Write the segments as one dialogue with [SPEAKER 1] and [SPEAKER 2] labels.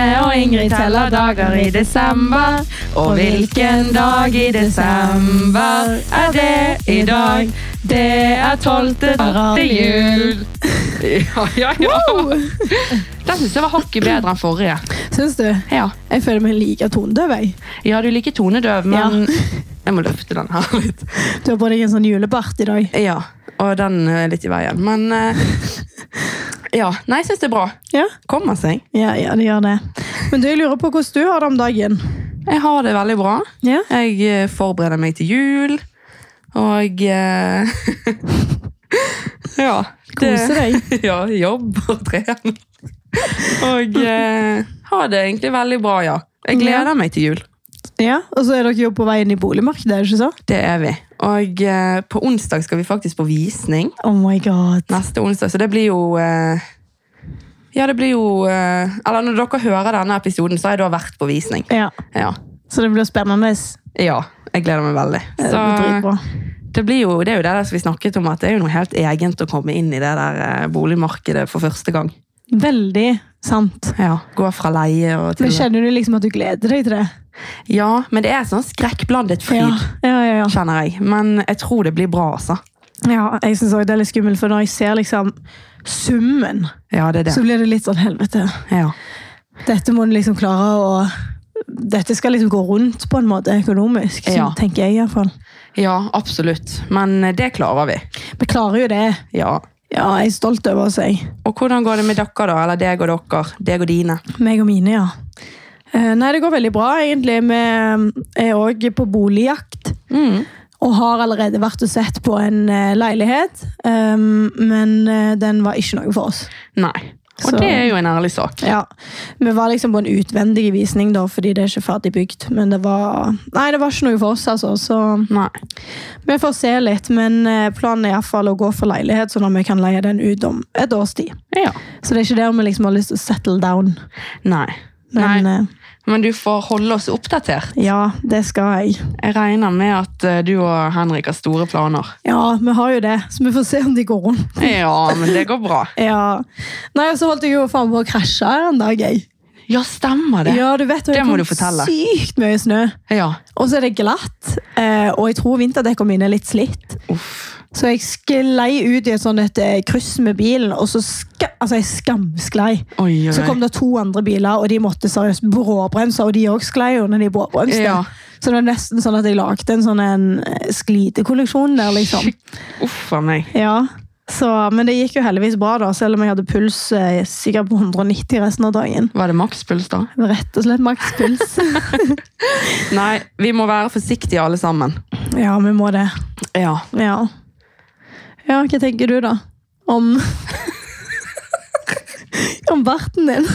[SPEAKER 1] Jeg teller dager i desember, og hvilken dag i desember er det i dag? Det er tolvte til jul. Ja, ja, ja. Den syns jeg var hakket bedre enn forrige.
[SPEAKER 2] Syns du?
[SPEAKER 1] Ja,
[SPEAKER 2] Jeg føler meg like tondøv, jeg.
[SPEAKER 1] ja du liker tonedøv, men jeg må løfte den her litt.
[SPEAKER 2] Du har på deg en sånn julebart i dag.
[SPEAKER 1] Ja, og den er litt i veien, men eh, Ja. Nei, jeg syns det er bra.
[SPEAKER 2] Ja,
[SPEAKER 1] Kommer seg.
[SPEAKER 2] ja, ja det gjør det. Men du, jeg lurer på hvordan du har det om dagen.
[SPEAKER 1] Jeg har det veldig bra.
[SPEAKER 2] Ja.
[SPEAKER 1] Jeg eh, forbereder meg til jul, og eh, Ja.
[SPEAKER 2] Kose deg.
[SPEAKER 1] Ja, jobb og trening. Og eh, har det egentlig veldig bra, ja. Jeg gleder
[SPEAKER 2] Ja.
[SPEAKER 1] meg til jul.
[SPEAKER 2] Ja, Og så er dere jo på vei inn i boligmarkedet, er det ikke så?
[SPEAKER 1] Det er vi. Og eh, på onsdag skal vi faktisk på visning.
[SPEAKER 2] Oh my god.
[SPEAKER 1] Neste onsdag, så det blir jo eh, Ja, det blir jo eh, Eller når dere hører denne episoden, så har jeg da vært på visning.
[SPEAKER 2] Ja,
[SPEAKER 1] Ja.
[SPEAKER 2] Så det blir spennende.
[SPEAKER 1] ja jeg gleder meg veldig.
[SPEAKER 2] Det
[SPEAKER 1] Så,
[SPEAKER 2] blir dritbra.
[SPEAKER 1] det, blir jo, det er jo det der som vi snakket om, at det er jo noe helt egent å komme inn i det der eh, boligmarkedet for første gang.
[SPEAKER 2] Veldig sant.
[SPEAKER 1] Ja, Gå fra leie og til
[SPEAKER 2] Men Kjenner du liksom at du gleder deg til det?
[SPEAKER 1] Ja, men det er sånn skrekkblandet fryd,
[SPEAKER 2] Ja, ja, ja. ja.
[SPEAKER 1] kjenner jeg. Men jeg tror det blir bra, altså.
[SPEAKER 2] ja jeg syns òg det er litt skummelt, for når jeg ser liksom summen,
[SPEAKER 1] Ja, det er det.
[SPEAKER 2] så blir det litt sånn helvete.
[SPEAKER 1] Ja.
[SPEAKER 2] Dette må du liksom klare å Dette skal liksom gå rundt på en måte økonomisk, så
[SPEAKER 1] Ja.
[SPEAKER 2] tenker jeg iallfall.
[SPEAKER 1] ja, absolutt. Men eh, det klarer vi.
[SPEAKER 2] Vi klarer jo det.
[SPEAKER 1] Ja.
[SPEAKER 2] Ja, jeg er stolt over oss, jeg.
[SPEAKER 1] Og hvordan går det med dere, da? Eller deg og dere? Deg og dine?
[SPEAKER 2] Meg og mine, ja. Eh, Nei, det går veldig bra, egentlig. Vi eh, er òg på boligjakt.
[SPEAKER 1] Mm.
[SPEAKER 2] Og har allerede vært og sett på en eh, leilighet, um, men eh, den var ikke noe for oss.
[SPEAKER 1] Nei. Og
[SPEAKER 2] Så-
[SPEAKER 1] det er jo en ærlig sak.
[SPEAKER 2] Ja, Vi var liksom på en utvendig visning, da, fordi det er ikke ferdig bygd. Men det var Nei, det var ikke noe for oss, altså. Så
[SPEAKER 1] Nei.
[SPEAKER 2] vi får se litt. Men eh, planen er iallfall å gå for leilighet, sånn at vi kan leie den ut om et års tid.
[SPEAKER 1] Ja.
[SPEAKER 2] Så det er ikke der vi liksom har lyst til å settle down.
[SPEAKER 1] Nei.
[SPEAKER 2] Men
[SPEAKER 1] Nei.
[SPEAKER 2] eh,
[SPEAKER 1] Men du får holde oss oppdatert.
[SPEAKER 2] ja, det skal jeg.
[SPEAKER 1] Jeg regner med at eh, du og Henrik har store planer.
[SPEAKER 2] Ja, vi har jo det, så vi får se om de går rundt.
[SPEAKER 1] Ja, men det går bra.
[SPEAKER 2] Ja. Nei, og så holdt jeg jo faen på å krasje en dag, jeg.
[SPEAKER 1] Ja, stemmer det.
[SPEAKER 2] Ja, du vet,
[SPEAKER 1] Det
[SPEAKER 2] jeg
[SPEAKER 1] må
[SPEAKER 2] kom
[SPEAKER 1] du fortelle.
[SPEAKER 2] Sykt mye snø.
[SPEAKER 1] Ja.
[SPEAKER 2] Og så er det glatt, eh, og jeg tror vinterdekkene mine er litt slitt.
[SPEAKER 1] Uff.
[SPEAKER 2] Så jeg sklei ut i et sånt et eh, kryss med bilen, og så ska, altså jeg skamsklei.
[SPEAKER 1] Oi, oi,
[SPEAKER 2] Så kom
[SPEAKER 1] oi.
[SPEAKER 2] det to andre biler, og de måtte seriøst bråbremse, og de òg sklei jo når de bråbremste.
[SPEAKER 1] Ja.
[SPEAKER 2] Så det var nesten sånn at jeg lagde en sånn en eh, sklidekolleksjon der,
[SPEAKER 1] sånn.
[SPEAKER 2] liksom.
[SPEAKER 1] Uff a meg.
[SPEAKER 2] Ja, så, men det gikk jo heldigvis bra da, selv om jeg hadde puls eh, sikkert på 190 resten av dagen.
[SPEAKER 1] Var det makspuls, da?
[SPEAKER 2] Rett og slett makspuls.
[SPEAKER 1] Nei, vi må være forsiktige alle sammen.
[SPEAKER 2] ja, vi må det.
[SPEAKER 1] Ja.
[SPEAKER 2] Ja. ja, hva tenker du da? Om... Om barten din.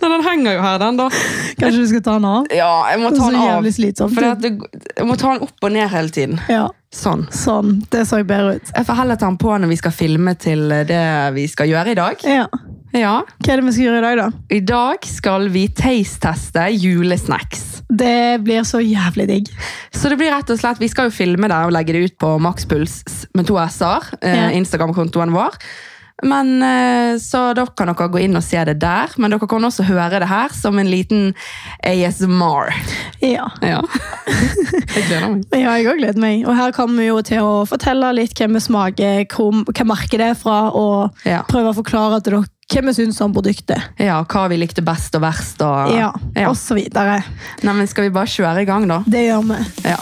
[SPEAKER 1] Men den henger jo her, den, da.
[SPEAKER 2] Kanskje du skal ta den av?
[SPEAKER 1] Ja, jeg må ta
[SPEAKER 2] Så
[SPEAKER 1] den av.
[SPEAKER 2] jævlig slitsomt.
[SPEAKER 1] For det, at det- jeg må ta den opp og ned hele tiden.
[SPEAKER 2] Ja,
[SPEAKER 1] Sånn.
[SPEAKER 2] sånn. Det så jeg bedre ut.
[SPEAKER 1] Jeg får heller ta den på når vi skal filme til eh, det vi skal gjøre i dag.
[SPEAKER 2] Ja.
[SPEAKER 1] Ja.
[SPEAKER 2] Hva er det vi skal gjøre i dag da?
[SPEAKER 1] I dag skal vi taste-teste julesnacks.
[SPEAKER 2] Det blir så jævlig digg.
[SPEAKER 1] Så det blir rett og slett, Vi skal jo filme det og legge det ut på Makspuls med to s-er.
[SPEAKER 2] Ja.
[SPEAKER 1] Eh, Instagram-kontoen vår. Men, eh, så da kan dere gå inn og se det der. Men dere kan også høre det her som en liten ASMR.
[SPEAKER 2] Ja.
[SPEAKER 1] Ja. Jeg gleder meg.
[SPEAKER 2] Ja, jeg òg gleder meg. Og her kommer vi jo til å fortelle litt hvem vi smaker, hvor, hva merket det er fra, og
[SPEAKER 1] Ja.
[SPEAKER 2] prøve å forklare til dere hva vi syns om produktet.
[SPEAKER 1] Ja, hva vi likte best og verst. Og...
[SPEAKER 2] Ah. Ja, og så videre.
[SPEAKER 1] Nei, men skal vi bare kjøre i gang, da?
[SPEAKER 2] Det gjør vi.
[SPEAKER 1] Ja.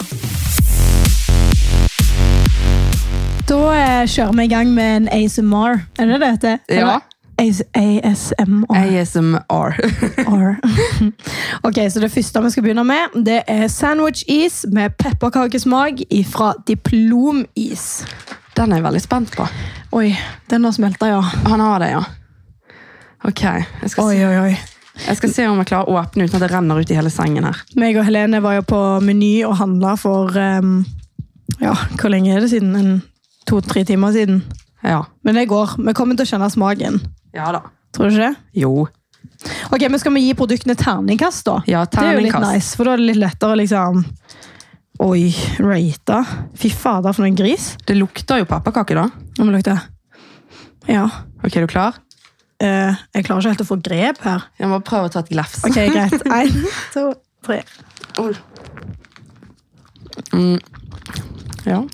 [SPEAKER 2] Da eh, kjører vi i gang med en ASMR. Er det det heter?
[SPEAKER 1] Ja.
[SPEAKER 2] Eller? AS ASMR.
[SPEAKER 1] ASMR.
[SPEAKER 2] ok, så Det første vi skal begynne med, det er sandwich-is med pepperkakesmak fra Diplom-is.
[SPEAKER 1] Den er jeg veldig spent på.
[SPEAKER 2] Oi, den har smelta, ja.
[SPEAKER 1] Han har det, ja. Ok, jeg skal,
[SPEAKER 2] Oi, oi, oi.
[SPEAKER 1] se, jeg skal se om jeg klarer å åpne uten at det renner ut i hele sengen her.
[SPEAKER 2] meg og Helene var jo på Meny og handla for ehm, Ja, hvor lenge er det siden? En To-tre timer siden.
[SPEAKER 1] Ja.
[SPEAKER 2] Men det går. Vi kommer til å kjenne smaken.
[SPEAKER 1] Ja da.
[SPEAKER 2] Tror du ikke det?
[SPEAKER 1] Jo.
[SPEAKER 2] Ok, men Skal vi gi produktene terningkast, da?
[SPEAKER 1] Ja,
[SPEAKER 2] Det er jo litt
[SPEAKER 1] terningkast.
[SPEAKER 2] nice, for da er det litt lettere å liksom Oi, rate. Fy fader, for noen gris.
[SPEAKER 1] Det lukter jo pepperkake, da.
[SPEAKER 2] Nå må vi lukte. Ja.
[SPEAKER 1] Ok, er du klar?
[SPEAKER 2] eh, Jeg klarer ikke helt å få grep her.
[SPEAKER 1] Jeg må prøve å ta et glefs.
[SPEAKER 2] Ok, greit. Én, to, tre.
[SPEAKER 1] Mm. Ja.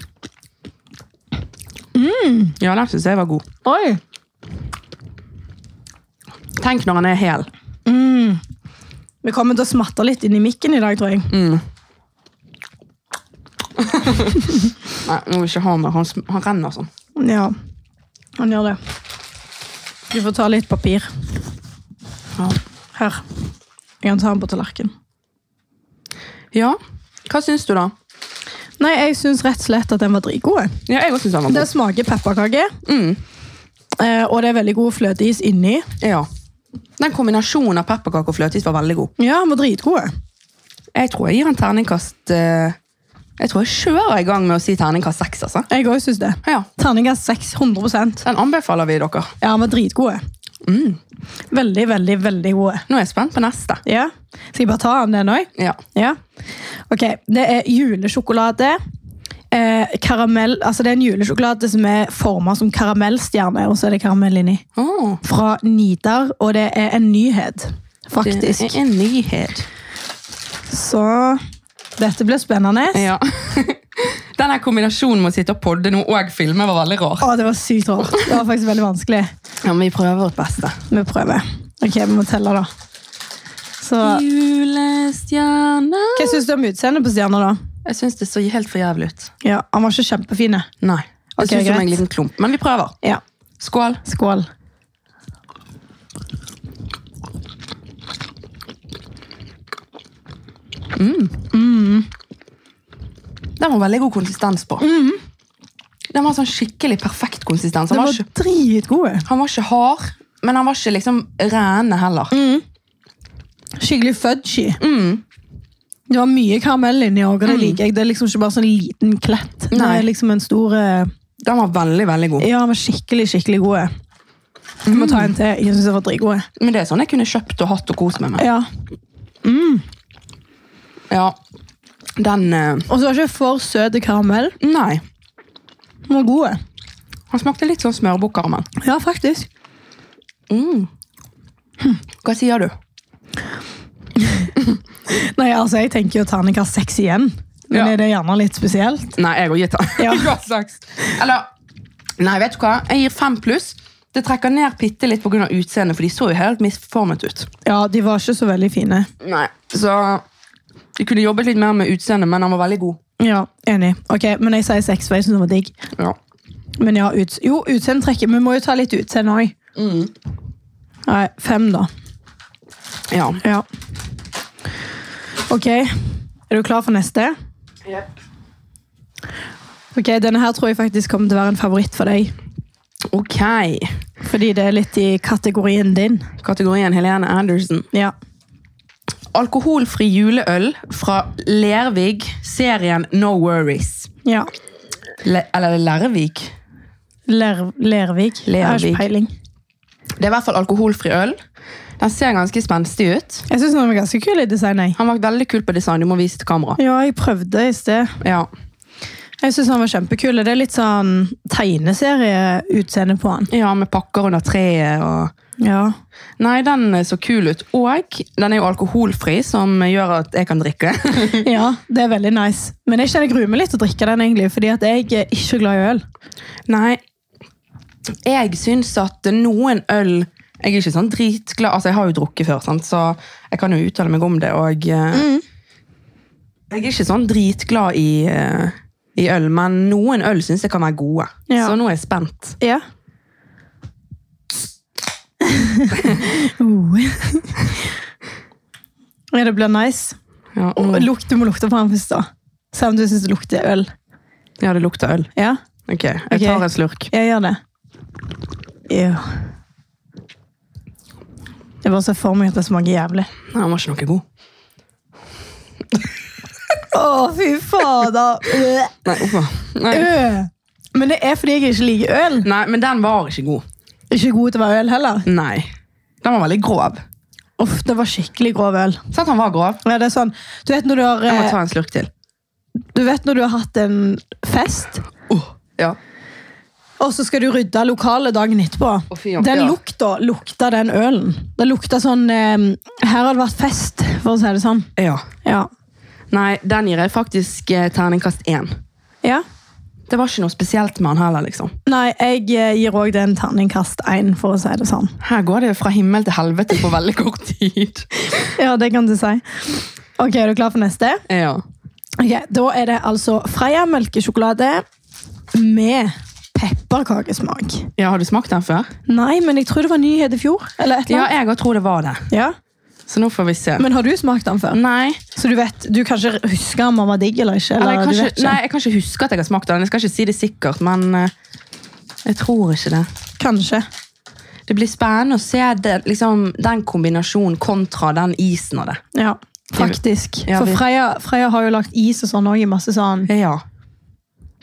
[SPEAKER 1] Mm. Ja, den syns jeg var god.
[SPEAKER 2] Oi!
[SPEAKER 1] Tenk når den er hel.
[SPEAKER 2] Vi kommer til å smatte litt inn i mikken i dag, tror jeg.
[SPEAKER 1] Nei, nå vil jeg ikke ha mer. Han, sm- han renner sånn.
[SPEAKER 2] Ja, han gjør det. Du får ta litt papir.
[SPEAKER 1] Ja.
[SPEAKER 2] Her. Jeg kan ta den på tallerkenen.
[SPEAKER 1] ja. Hva syns du, da?
[SPEAKER 2] Nei, jeg syns rett og slett at den var dritgod. jeg.
[SPEAKER 1] Ja, jeg òg syns den var
[SPEAKER 2] Det
[SPEAKER 1] god.
[SPEAKER 2] smaker pepperkake,
[SPEAKER 1] Mm.
[SPEAKER 2] eh, og det er veldig god fløteis inni.
[SPEAKER 1] Ja. Den kombinasjonen av pepperkake og fløteis var veldig god.
[SPEAKER 2] Ja, den var dritgod.
[SPEAKER 1] Jeg tror jeg gir en terningkast eh, Jeg tror jeg kjører i gang med å si terningkast seks, altså.
[SPEAKER 2] Jeg òg syns det.
[SPEAKER 1] Ja.
[SPEAKER 2] Terningkast 600
[SPEAKER 1] Den anbefaler vi dere.
[SPEAKER 2] Ja, den var dritgod. jeg.
[SPEAKER 1] Mm.
[SPEAKER 2] Veldig, veldig, veldig god.
[SPEAKER 1] Nå er jeg spent på neste.
[SPEAKER 2] Ja. Skal jeg bare ta den den òg?
[SPEAKER 1] Ja.
[SPEAKER 2] Ja. Ok, det er julesjokolade. Eh, karamell, altså det er en julesjokolade som er formet som karamellstjerne, og så er det karamell inni.
[SPEAKER 1] Åh,
[SPEAKER 2] Fra Nidar, og det er en nyhet,
[SPEAKER 1] det
[SPEAKER 2] faktisk.
[SPEAKER 1] er en nyhet.
[SPEAKER 2] Så dette blir spennende.
[SPEAKER 1] Ja. Denne kombinasjonen med å sitte og podde nå og filme var veldig rar.
[SPEAKER 2] Å, det var sykt rart. Det var faktisk veldig vanskelig.
[SPEAKER 1] Ja, men vi prøver vårt beste.
[SPEAKER 2] Vi prøver. Ok, vi må telle da. Så,
[SPEAKER 1] Julestjerne
[SPEAKER 2] hva synes du om utseendet på stjerner da?
[SPEAKER 1] Jeg syns det så helt for jævlig ut.
[SPEAKER 2] Ja, han var ikke kjempefine.
[SPEAKER 1] Nei. Det
[SPEAKER 2] Ok,
[SPEAKER 1] synes som
[SPEAKER 2] greit.
[SPEAKER 1] en liten klump, men vi prøver.
[SPEAKER 2] Ja,
[SPEAKER 1] Skål.
[SPEAKER 2] skål.
[SPEAKER 1] Den var veldig god konsistens på. Den var sånn skikkelig perfekt konsistens.
[SPEAKER 2] Det
[SPEAKER 1] Han Mhm. var,
[SPEAKER 2] var
[SPEAKER 1] ikke,
[SPEAKER 2] dritgode.
[SPEAKER 1] han var ikke hard, men han var ikke liksom rene heller.
[SPEAKER 2] skikkelig fudgy. Mm. Det var mye karamell inni òg, og det liker jeg. Det er liksom ikke bare sånn liten klett. Det
[SPEAKER 1] Nei.
[SPEAKER 2] er liksom en stor eh,
[SPEAKER 1] Den var veldig, veldig god.
[SPEAKER 2] Ja, den var skikkelig, skikkelig god. Vi må ta en til. Jeg syns den var dritgod.
[SPEAKER 1] Men det er sånn jeg kunne kjøpt og hatt og kost meg med.
[SPEAKER 2] Ja.
[SPEAKER 1] Ja. Den eh,
[SPEAKER 2] Og så var det ikke for søt karamell.
[SPEAKER 1] Nei.
[SPEAKER 2] Den var god.
[SPEAKER 1] Han smakte litt sånn smørbukkaramen.
[SPEAKER 2] Ja, faktisk.
[SPEAKER 1] Hva sier du?
[SPEAKER 2] Nei, altså, jeg tenker jo terningkast seks igjen. Men
[SPEAKER 1] Ja.
[SPEAKER 2] er det gjerne litt spesielt?
[SPEAKER 1] Nei, jeg har gitt han.
[SPEAKER 2] Ja.
[SPEAKER 1] Hva slags? Eller, nei, vet du hva? Jeg gir fem pluss. Det trekker ned bitte litt pga. utseendet, for de så jo helt misformet ut.
[SPEAKER 2] Ja, de var ikke så veldig fine.
[SPEAKER 1] Nei, så De kunne jobbet litt mer med utseendet, men han var veldig god.
[SPEAKER 2] Ja, Enig. Ok, Men jeg sier seks, for jeg syns den var digg.
[SPEAKER 1] Ja.
[SPEAKER 2] Men ja, ut, jo, utseendetrekket. Vi må jo ta litt utseende òg. Mm. Nei, fem, da.
[SPEAKER 1] ja.
[SPEAKER 2] Ja. Ok, er du klar for neste? Ok, Denne her tror jeg faktisk kommer til å være en favoritt for deg.
[SPEAKER 1] Ok.
[SPEAKER 2] Fordi det er litt i kategorien din.
[SPEAKER 1] Kategorien Helene Andersen.
[SPEAKER 2] Ja.
[SPEAKER 1] Alkoholfri juleøl fra Lervig, serien No Worries.
[SPEAKER 2] ja.
[SPEAKER 1] Le eller Lervig?
[SPEAKER 2] Ler, Lervig. Jeg har
[SPEAKER 1] Lervig.
[SPEAKER 2] ikke peiling.
[SPEAKER 1] Det er i hvert fall alkoholfri øl. Den ser ganske spenstig ut.
[SPEAKER 2] Jeg syns den var ganske kul i design. Jeg.
[SPEAKER 1] Han var veldig kul på design. Du må vise til kamera.
[SPEAKER 2] Ja, jeg prøvde i sted.
[SPEAKER 1] Ja.
[SPEAKER 2] Jeg syns den var kjempekul. Det er litt sånn tegneserieutseende på den.
[SPEAKER 1] ja, med pakker under treet og
[SPEAKER 2] Ja.
[SPEAKER 1] Nei, den eh, så kul ut. Og den er jo alkoholfri, som gjør at jeg kan drikke.
[SPEAKER 2] ja, det er veldig nice. Men jeg kjenner jeg gruer meg litt til å drikke den, egentlig, fordi at jeg er ikke glad i øl.
[SPEAKER 1] Nei, jeg syns at noen øl Jeg er ikke sånn dritglad Altså, jeg har jo drukket før, sant? så jeg kan jo uttale meg om det, og eh, Jeg er ikke sånn dritglad i, eh, i øl, men noen øl syns jeg kan være gode.
[SPEAKER 2] Ja.
[SPEAKER 1] Så nå er jeg spent.
[SPEAKER 2] Ja. oh. ja, det blir nice.
[SPEAKER 1] Ja,
[SPEAKER 2] Og
[SPEAKER 1] mm.
[SPEAKER 2] lukt, du må lukte på den først, da. Selv om du syns det lukter øl.
[SPEAKER 1] ja det lukter øl.
[SPEAKER 2] Ja,
[SPEAKER 1] Ok, jeg
[SPEAKER 2] Ok.
[SPEAKER 1] tar en slurk.
[SPEAKER 2] jeg gjør det. Ew. Jeg bare ser for meg at det smaker jævlig.
[SPEAKER 1] Nei, den var ikke noe god.
[SPEAKER 2] Å, fy fader! Øh.
[SPEAKER 1] Nei, oppa. Nei.
[SPEAKER 2] Øh. Men det er fordi jeg ikke liker øl.
[SPEAKER 1] Nei, men den var ikke god.
[SPEAKER 2] Ikke god til å være øl heller.
[SPEAKER 1] Nei. Den var veldig grov.
[SPEAKER 2] Uff, det var skikkelig grov øl.
[SPEAKER 1] Sant han var grov?
[SPEAKER 2] Ja, det er sånn, du vet når du har,
[SPEAKER 1] Jeg må
[SPEAKER 2] eh,
[SPEAKER 1] ta en slurk til. Oh.
[SPEAKER 2] du vet når du har hatt en fest,
[SPEAKER 1] Ja.
[SPEAKER 2] Og så skal du rydde lokalet dagen etterpå.
[SPEAKER 1] Å, fy jokke,
[SPEAKER 2] Den
[SPEAKER 1] ja.
[SPEAKER 2] lukta lukta den ølen. Det lukta sånn eh, Her har det vært fest, for å si det sånn.
[SPEAKER 1] Ja.
[SPEAKER 2] Ja.
[SPEAKER 1] Nei, den gir jeg faktisk eh, terningkast én.
[SPEAKER 2] ja.
[SPEAKER 1] Det var ikke noe spesielt med han heller, liksom.
[SPEAKER 2] Nei, jeg eh, gir òg den terningkast én, for å si det sånn.
[SPEAKER 1] Her går det fra himmel til helvete på veldig kort tid.
[SPEAKER 2] Ja, det kan du si. Ok, Er du klar for neste?
[SPEAKER 1] Ja.
[SPEAKER 2] Ok, Da er det altså Freia melkesjokolade med pepperkakesmak.
[SPEAKER 1] ja, Har du smakt den før?
[SPEAKER 2] Nei, men jeg tror det var nyhet i fjor. Eller et
[SPEAKER 1] Ja,
[SPEAKER 2] eller annet.
[SPEAKER 1] jeg òg tror det var det.
[SPEAKER 2] Ja.
[SPEAKER 1] Så nå får vi se.
[SPEAKER 2] Men har du smakt den før?
[SPEAKER 1] Nei,
[SPEAKER 2] Så du vet, du kan ikke huske om den var digg eller ikke? Eller
[SPEAKER 1] eller jeg kan
[SPEAKER 2] du
[SPEAKER 1] ikke,
[SPEAKER 2] vet ikke.
[SPEAKER 1] nei, jeg kan ikke huske at jeg har smakt den. Jeg skal ikke si det sikkert, men eh, jeg tror ikke det.
[SPEAKER 2] Kanskje.
[SPEAKER 1] Det blir spennende å se det, liksom, den kombinasjonen kontra den isen og det.
[SPEAKER 2] Ja, faktisk.
[SPEAKER 1] Ja, vi-
[SPEAKER 2] For Freia, Freia har jo lagt is og sånn òg i masse sånn.
[SPEAKER 1] Ja.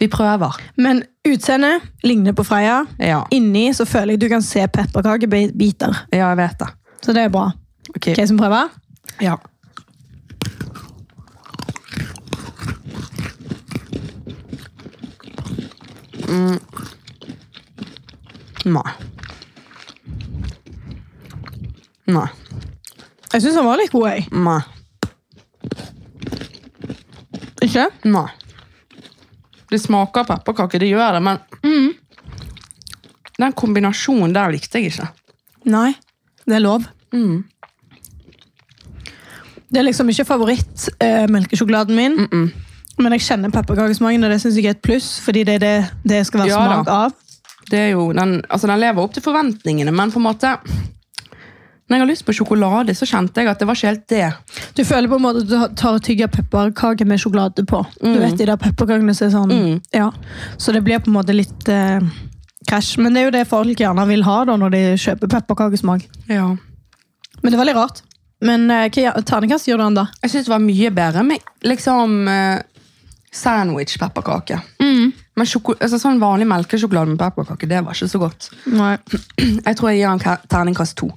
[SPEAKER 1] Vi prøver.
[SPEAKER 2] Men utseendet ligner på Freia.
[SPEAKER 1] Ja.
[SPEAKER 2] Inni så føler jeg du kan se pepperkakebiter.
[SPEAKER 1] Ja, jeg vet det.
[SPEAKER 2] Så det er bra.
[SPEAKER 1] Ok.
[SPEAKER 2] Ok, som prøver?
[SPEAKER 1] Ja. Mm. Nei. Nei.
[SPEAKER 2] Jeg syns den var litt god. jeg.
[SPEAKER 1] Nei.
[SPEAKER 2] Ikke?
[SPEAKER 1] Nei. Det smaker pepperkake, det gjør det, men den kombinasjonen der likte jeg ikke.
[SPEAKER 2] Nei. Det er lov.
[SPEAKER 1] Mm.
[SPEAKER 2] Det er liksom ikke favoritt-melkesjokoladen min, men jeg kjenner pepperkakesmaken, og det syns jeg er et pluss, fordi det er det det skal være
[SPEAKER 1] Ja da.
[SPEAKER 2] smak av.
[SPEAKER 1] Det er jo, den, altså den lever opp til forventningene, men på en måte Når jeg har lyst på sjokolade, så kjente jeg at det var ikke helt det.
[SPEAKER 2] Du føler på en måte at du tar og tygger pepperkake med sjokolade på. Du vet de der pepperkakene som er sånn Ja. Så det blir på en måte litt eh, crash. Men det er jo det folk gjerne vil ha da når de kjøper pepperkakesmak.
[SPEAKER 1] Ja. Men
[SPEAKER 2] Men det var litt rart. Men eh, hva gjør- terningkast gjør du den, da?
[SPEAKER 1] Jeg syns det var mye bedre med liksom eh, sandwich-pepperkake. Men sjoko, altså, sånn vanlig melkesjokolade med pepperkake, det var ikke så godt.
[SPEAKER 2] Nei.
[SPEAKER 1] Jeg tror jeg gir han ka- terningkast to.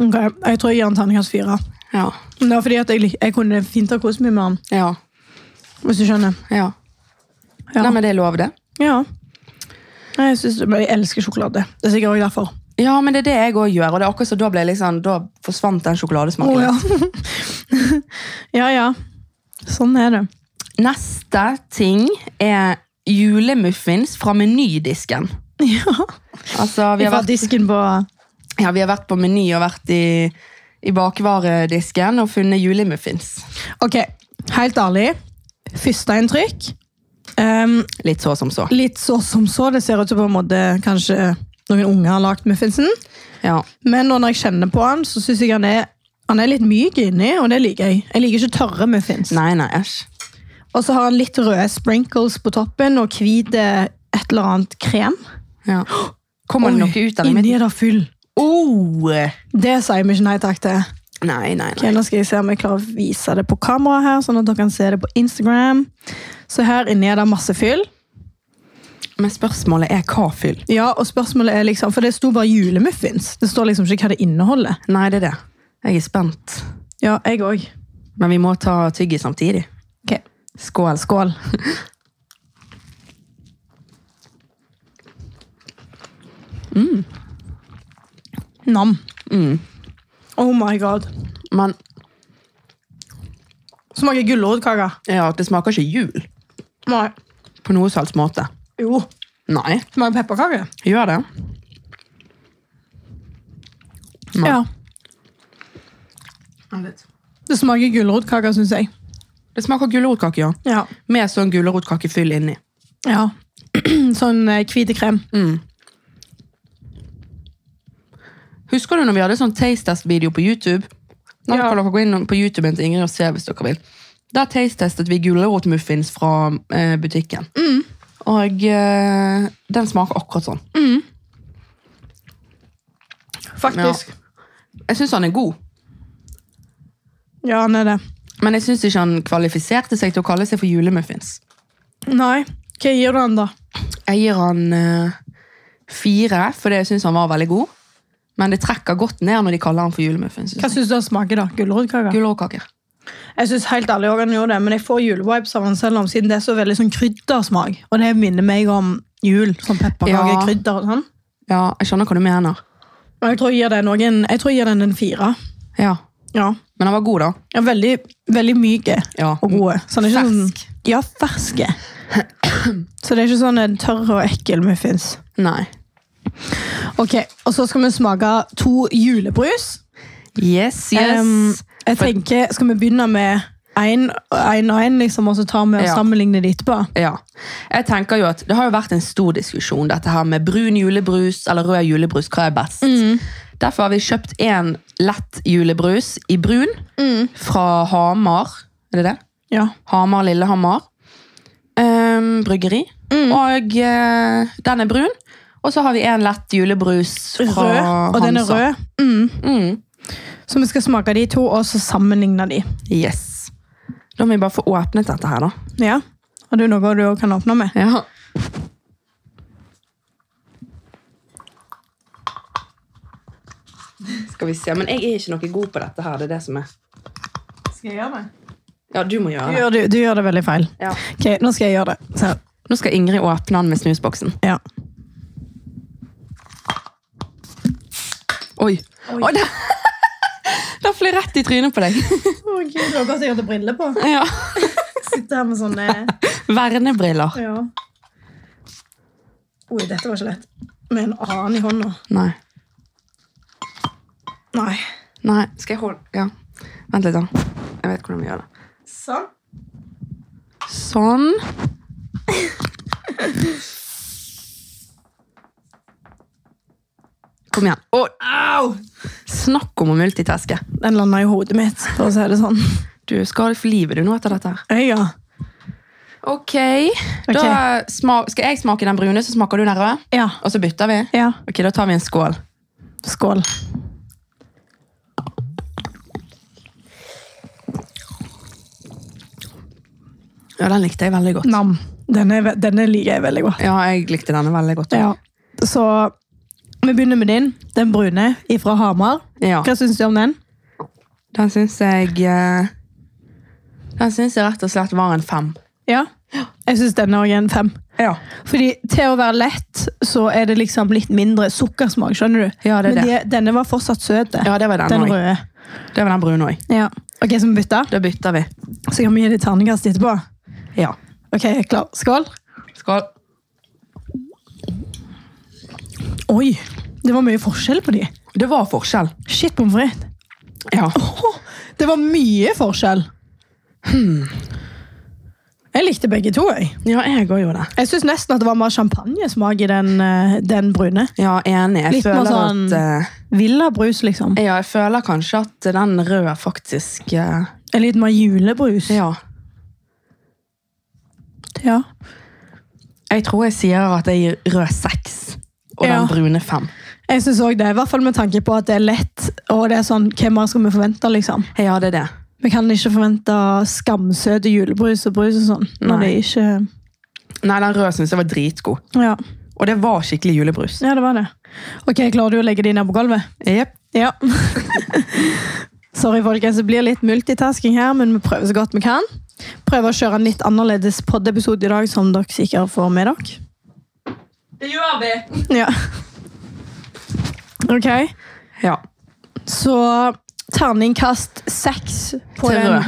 [SPEAKER 2] Ok, Jeg tror jeg gir den terningkast fire.
[SPEAKER 1] Ja.
[SPEAKER 2] Men det var fordi at jeg, lik- jeg kunne fint ha kost meg med den.
[SPEAKER 1] Ja.
[SPEAKER 2] Hvis du skjønner.
[SPEAKER 1] ja.
[SPEAKER 2] Ja.
[SPEAKER 1] Nei, men det er lov, det.
[SPEAKER 2] ja. Nei, Jeg, synes, det- men jeg elsker sjokolade. Det er sikkert også derfor.
[SPEAKER 1] Ja, men det er det jeg òg gjør. Og det er akkurat så da, ble jeg liksom, da forsvant den sjokoladesmaken.
[SPEAKER 2] Å, ja. ja, ja. Sånn er det.
[SPEAKER 1] Neste ting er julemuffins fra menydisken.
[SPEAKER 2] Ja.
[SPEAKER 1] Altså, vi har
[SPEAKER 2] Fra
[SPEAKER 1] vært,
[SPEAKER 2] disken på
[SPEAKER 1] ja, vi har vært på meny og vært i, i bakvaredisken og funnet julemuffins.
[SPEAKER 2] Ok, helt ærlig. Første inntrykk. Um,
[SPEAKER 1] Litt så som så.
[SPEAKER 2] litt så som så. Det ser ut som på en måte kanskje noen unge har lagd muffinsen.
[SPEAKER 1] Ja.
[SPEAKER 2] Men nå når jeg kjenner på han, så syns jeg han er, han er litt myk inni, og det liker jeg. Jeg liker ikke tørre muffins.
[SPEAKER 1] Nei, nei, æsj.
[SPEAKER 2] Og så har han litt røde sprinkles på toppen og hvit eh, et eller annet krem.
[SPEAKER 1] Ja. Kommer det noe ut av det?
[SPEAKER 2] inni
[SPEAKER 1] mitt?
[SPEAKER 2] er det full.
[SPEAKER 1] Oh!
[SPEAKER 2] Det sier vi ikke nei takk til.
[SPEAKER 1] Nei, nei,
[SPEAKER 2] Ok,
[SPEAKER 1] nei.
[SPEAKER 2] nå skal jeg se om jeg klarer å vise det på kamera her, sånn at dere kan se det på Instagram. Så her inni er det masse fyll.
[SPEAKER 1] Men spørsmålet er hva fyll?
[SPEAKER 2] Ja, og spørsmålet er liksom, for det sto bare julemuffins. Det står liksom ikke hva det inneholder.
[SPEAKER 1] Nei, det er det. Jeg er spent.
[SPEAKER 2] Ja, jeg òg.
[SPEAKER 1] Men vi må ta tygget samtidig.
[SPEAKER 2] Ok,
[SPEAKER 1] Skål.
[SPEAKER 2] skål. Mm. Nam. Oh my god.
[SPEAKER 1] Men
[SPEAKER 2] Smaker gulrotkake.
[SPEAKER 1] ja, det smaker ikke jul
[SPEAKER 2] Nei.
[SPEAKER 1] på noe salgs måte.
[SPEAKER 2] Jo.
[SPEAKER 1] Nei.
[SPEAKER 2] Smaker pepperkake.
[SPEAKER 1] Gjør det? Nei.
[SPEAKER 2] Ja. Det smaker gulrotkake, syns jeg.
[SPEAKER 1] Det smaker gulrotkake, ja.
[SPEAKER 2] Ja.
[SPEAKER 1] Med sånn gulrotkakefyll inni.
[SPEAKER 2] ja. sånn eh, hvite krem.
[SPEAKER 1] Husker du når vi hadde sånn taste test-video på YouTube? Da
[SPEAKER 2] Ja.
[SPEAKER 1] kan dere gå inn på YouTuben til Ingrid og se hvis dere vil. Der taste-testet vi gulrotmuffins fra eh, butikken.
[SPEAKER 2] Mm.
[SPEAKER 1] Og eh, den smaker akkurat sånn.
[SPEAKER 2] Faktisk.
[SPEAKER 1] Jeg syns han er god,
[SPEAKER 2] Ja, han er det.
[SPEAKER 1] men jeg syns ikke han kvalifiserte seg til å kalle seg for julemuffins.
[SPEAKER 2] Nei. Hva gir du han, da?
[SPEAKER 1] Jeg gir han eh, fire, fordi jeg syns han var veldig god. Men det trekker godt ned når de kaller han for julemuffins.
[SPEAKER 2] Hva syns du han smaker, da? Gulrotkake?
[SPEAKER 1] Gulrotkaker.
[SPEAKER 2] Jeg synes helt ærlig også han gjorde det, men jeg får julevibes av han selv om, siden det er så veldig sånn kryddersmak. Og det minner meg om jul. Sånn pepperkaker,
[SPEAKER 1] Ja.
[SPEAKER 2] krydder og sånn.
[SPEAKER 1] Ja, jeg skjønner hva du mener.
[SPEAKER 2] Og jeg tror jeg gir den, også en- jeg tror jeg gir den en fire.
[SPEAKER 1] Ja.
[SPEAKER 2] Ja.
[SPEAKER 1] Men den var god, da.
[SPEAKER 2] ja veldig, veldig myke
[SPEAKER 1] Ja.
[SPEAKER 2] og gode. Så den er ikke
[SPEAKER 1] Fersk.
[SPEAKER 2] Sånn, ja, ferske. Så det er ikke sånn en tørr og ekkel muffins.
[SPEAKER 1] Nei.
[SPEAKER 2] Ok, Og så skal vi smake to julebrus.
[SPEAKER 1] Yes,
[SPEAKER 2] Em, jeg
[SPEAKER 1] For-
[SPEAKER 2] tenker, Skal vi begynne med én og én, liksom, og så tar vi og
[SPEAKER 1] Ja.
[SPEAKER 2] sammenligner det etterpå?
[SPEAKER 1] ja. Jeg tenker jo at Det har jo vært en stor diskusjon, dette her med brun julebrus eller rød julebrus. Hva er best?
[SPEAKER 2] Mm.
[SPEAKER 1] Derfor har vi kjøpt en lett julebrus i brun
[SPEAKER 2] Mm.
[SPEAKER 1] fra Hamar. Er det det?
[SPEAKER 2] Ja.
[SPEAKER 1] Hamar Lillehammer em, bryggeri.
[SPEAKER 2] Mm.
[SPEAKER 1] Og eh, den er brun. Og så har vi en lett julebrus fra
[SPEAKER 2] Rød, og den er
[SPEAKER 1] Hansa.
[SPEAKER 2] rød. Mm. Så vi skal smake de to, og så sammenligne de.
[SPEAKER 1] Yes. Da må vi bare få åpnet dette her, da.
[SPEAKER 2] Ja. Har du noe du også kan åpne med?
[SPEAKER 1] Ja. Skal vi se, men jeg er ikke noe god på dette her, det er det som er.
[SPEAKER 2] Skal jeg gjøre det?
[SPEAKER 1] Ja, du må
[SPEAKER 2] Du
[SPEAKER 1] gjøre det.
[SPEAKER 2] gjør, det- du gjør det veldig feil.
[SPEAKER 1] Ja.
[SPEAKER 2] Ok, nå skal jeg gjøre det. Så,
[SPEAKER 1] Nå skal Ingrid åpne den med snusboksen.
[SPEAKER 2] ja.
[SPEAKER 1] Oi. Oi. det, det fløy rett i trynet på deg.
[SPEAKER 2] Å gud, det var godt jeg hadde briller på.
[SPEAKER 1] Ja.
[SPEAKER 2] Sitter her med sånne
[SPEAKER 1] Vernebriller.
[SPEAKER 2] Ja. Oi, dette var ikke lett. Med en annen i hånda.
[SPEAKER 1] Nei.
[SPEAKER 2] Nei.
[SPEAKER 1] Nei. Skal jeg holde Ja. Vent litt, da. Jeg vet hvordan vi gjør det.
[SPEAKER 2] Sånn.
[SPEAKER 1] Sånn. Kom igjen. Å,
[SPEAKER 2] Au!
[SPEAKER 1] snakk om å multitaske.
[SPEAKER 2] Den landa i hodet mitt, for å si det sånn.
[SPEAKER 1] Du skal ha det for livet du nå etter dette. her.
[SPEAKER 2] Jeg, ja.
[SPEAKER 1] Ok. Da sma- skal jeg smake den brune, så smaker du den røde.
[SPEAKER 2] Ja.
[SPEAKER 1] Og så bytter vi.
[SPEAKER 2] ja.
[SPEAKER 1] Ok, Da tar vi en skål.
[SPEAKER 2] Skål.
[SPEAKER 1] Ja, Den likte jeg veldig godt.
[SPEAKER 2] Nam. Denne, er ve- denne liker jeg veldig godt.
[SPEAKER 1] Ja, jeg likte denne veldig godt.
[SPEAKER 2] Ja. Så vi begynner med din. Den brune ifra Hamar.
[SPEAKER 1] Ja.
[SPEAKER 2] Hva syns du om den?
[SPEAKER 1] Den syns jeg eh, Den syns jeg rett og slett var en fem.
[SPEAKER 2] Ja. Jeg syns denne òg er en fem.
[SPEAKER 1] Ja.
[SPEAKER 2] Fordi til å være lett, så er det liksom litt mindre sukkersmak, skjønner du?
[SPEAKER 1] Ja, det er
[SPEAKER 2] Men de- denne var fortsatt søt.
[SPEAKER 1] Ja, det var den
[SPEAKER 2] den
[SPEAKER 1] også.
[SPEAKER 2] røde.
[SPEAKER 1] Det var den brune òg.
[SPEAKER 2] Ja. Ok, så vi bytter?
[SPEAKER 1] Da bytter vi.
[SPEAKER 2] Så kan vi gi det terningkast etterpå.
[SPEAKER 1] Ja.
[SPEAKER 2] Ok, jeg er klar. Skål.
[SPEAKER 1] Skål.
[SPEAKER 2] Oi, det var mye forskjell på de.
[SPEAKER 1] Det var forskjell.
[SPEAKER 2] Shit, pommes frites.
[SPEAKER 1] Ja.
[SPEAKER 2] Åh, det var mye forskjell.
[SPEAKER 1] Hmm.
[SPEAKER 2] Jeg likte begge to, jeg.
[SPEAKER 1] ja, jeg òg gjorde det.
[SPEAKER 2] Jeg syns nesten at det var mer champagnesmak i den, eh, den brune.
[SPEAKER 1] Ja, enig. Jeg
[SPEAKER 2] Litt mer
[SPEAKER 1] føler at
[SPEAKER 2] sånn-
[SPEAKER 1] eh,
[SPEAKER 2] Villa brus, liksom.
[SPEAKER 1] Ja, jeg føler kanskje at den røde faktisk eh,
[SPEAKER 2] En litt mer julebrus.
[SPEAKER 1] Ja.
[SPEAKER 2] Ja.
[SPEAKER 1] Jeg tror jeg sier at jeg gir rød seks og
[SPEAKER 2] Ja.
[SPEAKER 1] den brune fem.
[SPEAKER 2] Jeg syns òg det. I hvert fall med tanke på at det er lett. Og det er sånn, hva mer skal vi forvente, liksom?
[SPEAKER 1] Ja, det er det.
[SPEAKER 2] Vi kan ikke forvente skamsøte julebrus og brus og sånn. Når det
[SPEAKER 1] Nei.
[SPEAKER 2] ikke
[SPEAKER 1] Nei, den røde syns jeg var dritgod.
[SPEAKER 2] ja.
[SPEAKER 1] Og det var skikkelig julebrus.
[SPEAKER 2] ja, det var det. Ok, klarer du å legge de ned på gulvet?
[SPEAKER 1] Jep.
[SPEAKER 2] Ja. Sorry, folkens. Det blir litt multitasking her, men vi prøver så godt vi kan. Prøver å kjøre en litt annerledes poddepisode i dag, som dere sikkert får med dere.
[SPEAKER 1] Det gjør vi!
[SPEAKER 2] Ja. Ok,
[SPEAKER 1] Ja.
[SPEAKER 2] så terningkast seks på
[SPEAKER 1] Til
[SPEAKER 2] den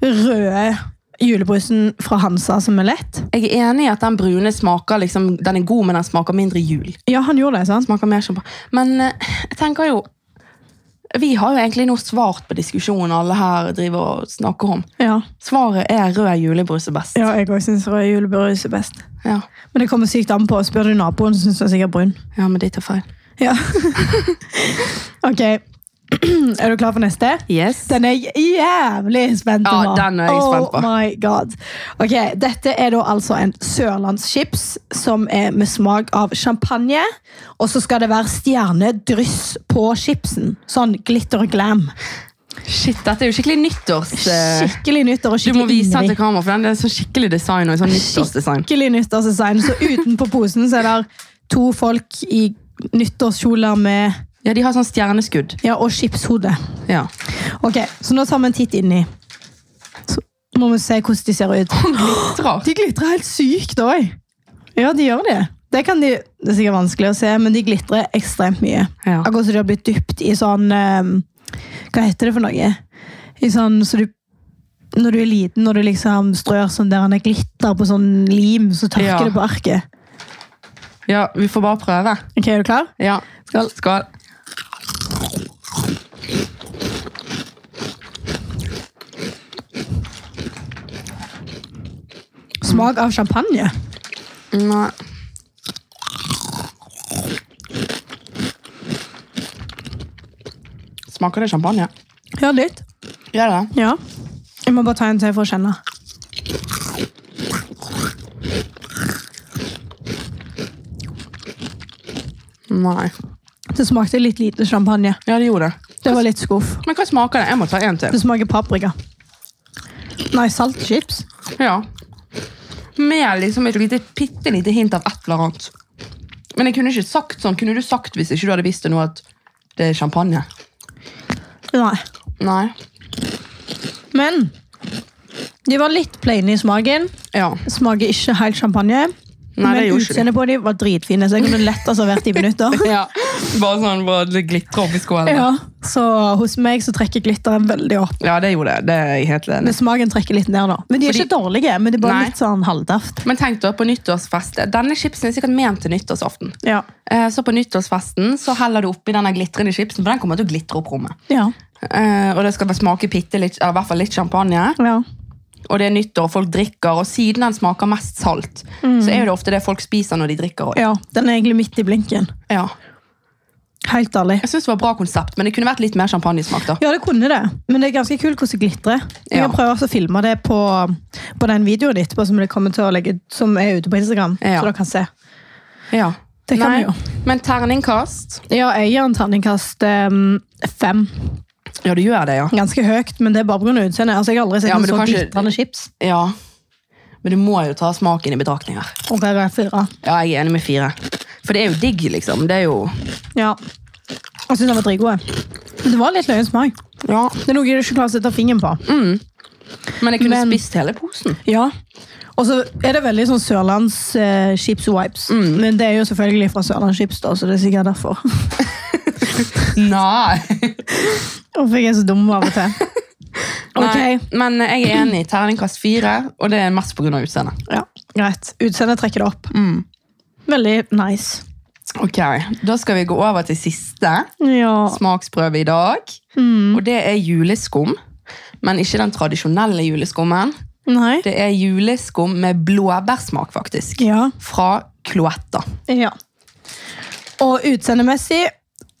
[SPEAKER 2] røde julebrusen fra Hansa, som er lett.
[SPEAKER 1] Jeg er enig i at den brune smaker liksom, den er god, men den smaker mindre jul.
[SPEAKER 2] Ja, han gjorde det, sant?
[SPEAKER 1] Smaker mer champagne. Men eh, jeg tenker jo Vi har jo egentlig nå svart på diskusjonen alle her driver og snakker om.
[SPEAKER 2] Ja,
[SPEAKER 1] Svaret er rød julebrus er best.
[SPEAKER 2] ja jeg òg syns rød julebrus er best.
[SPEAKER 1] Ja.
[SPEAKER 2] Men det kommer sykt an på. Spør du naboen, så syns han sikkert brun.
[SPEAKER 1] Ja, men de tar feil.
[SPEAKER 2] Ja. ok. er du klar for neste?
[SPEAKER 1] Yes.
[SPEAKER 2] Den er jeg jævlig spent
[SPEAKER 1] Ja,
[SPEAKER 2] over.
[SPEAKER 1] den er jeg spent på.
[SPEAKER 2] Oh my god. Ok, Dette er da altså en sørlandschips som er med smak av champagne. Og så skal det være stjernedryss på chipsen. Sånn glitter og glam.
[SPEAKER 1] Shit, dette er jo skikkelig nyttårs... eh,
[SPEAKER 2] Skikkelig nytter og
[SPEAKER 1] Du må
[SPEAKER 2] skikkelig
[SPEAKER 1] vise den til
[SPEAKER 2] innring.
[SPEAKER 1] kamera, for den er sånn skikkelig design. og en sånn nyttårsdesign.
[SPEAKER 2] Skikkelig nyttårsdesign. Så utenpå posen så er det to folk i nyttårskjoler med
[SPEAKER 1] Ja, De har sånn stjerneskudd.
[SPEAKER 2] Ja, og chipshode.
[SPEAKER 1] Ja.
[SPEAKER 2] Ok, så nå tar vi en titt inni. Så må vi se hvordan de ser ut.
[SPEAKER 1] Strakt.
[SPEAKER 2] De glitrer helt sykt òg. Ja, de gjør det. Det, kan de, det er sikkert vanskelig å se, men de glitrer ekstremt mye.
[SPEAKER 1] Ja.
[SPEAKER 2] Akkurat som de har blitt dypt i sånn ehm, Hva heter det for noe? I sånn, så du, når du er liten, når du liksom strør sånn der han er glitter på sånn lim, så tørker
[SPEAKER 1] Ja.
[SPEAKER 2] det på arket.
[SPEAKER 1] Ja, vi får bare prøve.
[SPEAKER 2] Ok, Er du klar?
[SPEAKER 1] Ja.
[SPEAKER 2] Skål.
[SPEAKER 1] Skål.
[SPEAKER 2] Smak av champagne.
[SPEAKER 1] Nei. Smaker det champagne?
[SPEAKER 2] Ja, litt.
[SPEAKER 1] Gjør det det?
[SPEAKER 2] Ja. Jeg må bare ta en til for å kjenne.
[SPEAKER 1] Nei.
[SPEAKER 2] Det smakte litt lite champagne.
[SPEAKER 1] Ja, det gjorde det.
[SPEAKER 2] Det var litt skuff.
[SPEAKER 1] Men hva smaker det? Jeg må ta en til.
[SPEAKER 2] Det smaker paprika. Nei, saltchips.
[SPEAKER 1] Ja. Med liksom et lite, bitte lite hint av et eller annet. Men jeg kunne ikke sagt sånn. Kunne du sagt hvis ikke du hadde visst det nå at det er champagne?
[SPEAKER 2] Nei.
[SPEAKER 1] Nei.
[SPEAKER 2] Men de var litt plaine i smaken.
[SPEAKER 1] Ja.
[SPEAKER 2] Smaker ikke helt champagne.
[SPEAKER 1] Nei, det
[SPEAKER 2] men
[SPEAKER 1] gjorde ikke de.
[SPEAKER 2] utseendet på dem var dritfine, så jeg kunne lett ha servert i minutter.
[SPEAKER 1] ja. Bare sånn bare det glitrer opp i skålen.
[SPEAKER 2] Ja, Så hos meg så trekker glitteret veldig opp.
[SPEAKER 1] Ja, det gjorde det. Det er jeg helt enig i.
[SPEAKER 2] Men smaken trekker litt ned, da. Men de er
[SPEAKER 1] Fordi-
[SPEAKER 2] ikke dårlige, men de er bare
[SPEAKER 1] Nei.
[SPEAKER 2] litt sånn halvdaft.
[SPEAKER 1] Men tenk da på nyttårsfest. Denne chipsen er sikkert ment til nyttårsaften.
[SPEAKER 2] Ja.
[SPEAKER 1] Eh, Så på nyttårsfesten så heller du oppi denne glitrende chipsen, for den kommer til å glitre opp rommet.
[SPEAKER 2] Ja.
[SPEAKER 1] Eh, Og det skal bare smake bitte litt, eller i hvert fall litt champagne.
[SPEAKER 2] ja.
[SPEAKER 1] Og det er nyttår, og folk drikker, og siden den smaker mest salt, så er jo det ofte det folk spiser når de drikker. også.
[SPEAKER 2] Ja, Den er egentlig midt i blinken.
[SPEAKER 1] Ja.
[SPEAKER 2] Helt ærlig.
[SPEAKER 1] Jeg synes det var et bra konsept, men det kunne vært litt mer champagnesmak da.
[SPEAKER 2] Ja, det kunne det, men det er ganske kult hvordan det glitrer. Jeg
[SPEAKER 1] Ja.
[SPEAKER 2] kan prøve også å filme det på, på den videoen etterpå som, det kommer til å legge, ut- som er ute på Instagram.
[SPEAKER 1] Ja.
[SPEAKER 2] Så dere kan se.
[SPEAKER 1] Ja.
[SPEAKER 2] Det kan
[SPEAKER 1] Nei,
[SPEAKER 2] vi jo.
[SPEAKER 1] Men terningkast?
[SPEAKER 2] Ja, jeg gir en terningkast um, fem.
[SPEAKER 1] Ja, du gjør det, ja.
[SPEAKER 2] Ganske høyt, men det er bare pga. utseendet. Altså, jeg har aldri sett
[SPEAKER 1] Ja, men
[SPEAKER 2] en
[SPEAKER 1] du
[SPEAKER 2] så
[SPEAKER 1] kan ikke-
[SPEAKER 2] glitrende chips.
[SPEAKER 1] Ja. Men du må jo ta smaken i betraktning her.
[SPEAKER 2] Ok, det er fire.
[SPEAKER 1] Ja, jeg er enig med fire. For det er jo digg, liksom. Det er jo...
[SPEAKER 2] Ja. Jeg syns den var dritgod. Men det var litt løyen smak.
[SPEAKER 1] Ja.
[SPEAKER 2] Det er noe du ikke klarer å sette fingeren på.
[SPEAKER 1] Mm. Men jeg kunne
[SPEAKER 2] Men-
[SPEAKER 1] spist hele posen.
[SPEAKER 2] Ja. Og så er det veldig sånn sørlands eh, chips wipes.
[SPEAKER 1] Mm.
[SPEAKER 2] Men det er jo selvfølgelig fra Sørlands chips, da, så det er sikkert derfor.
[SPEAKER 1] Nei.
[SPEAKER 2] Hvorfor jeg er så dum av og til. Ok,
[SPEAKER 1] Men jeg er enig i terningkast fire, og det er mest pga. utseendet.
[SPEAKER 2] ja, greit. Utseendet trekker det opp.
[SPEAKER 1] Mm.
[SPEAKER 2] Veldig nice.
[SPEAKER 1] Ok, Da skal vi gå over til siste
[SPEAKER 2] Ja.
[SPEAKER 1] smaksprøve i dag. Og det er juleskum. Men ikke den tradisjonelle juleskummen.
[SPEAKER 2] Nei.
[SPEAKER 1] Det er juleskum med blåbærsmak, faktisk.
[SPEAKER 2] Ja.
[SPEAKER 1] Fra Cloetta.
[SPEAKER 2] ja. Og utseendemessig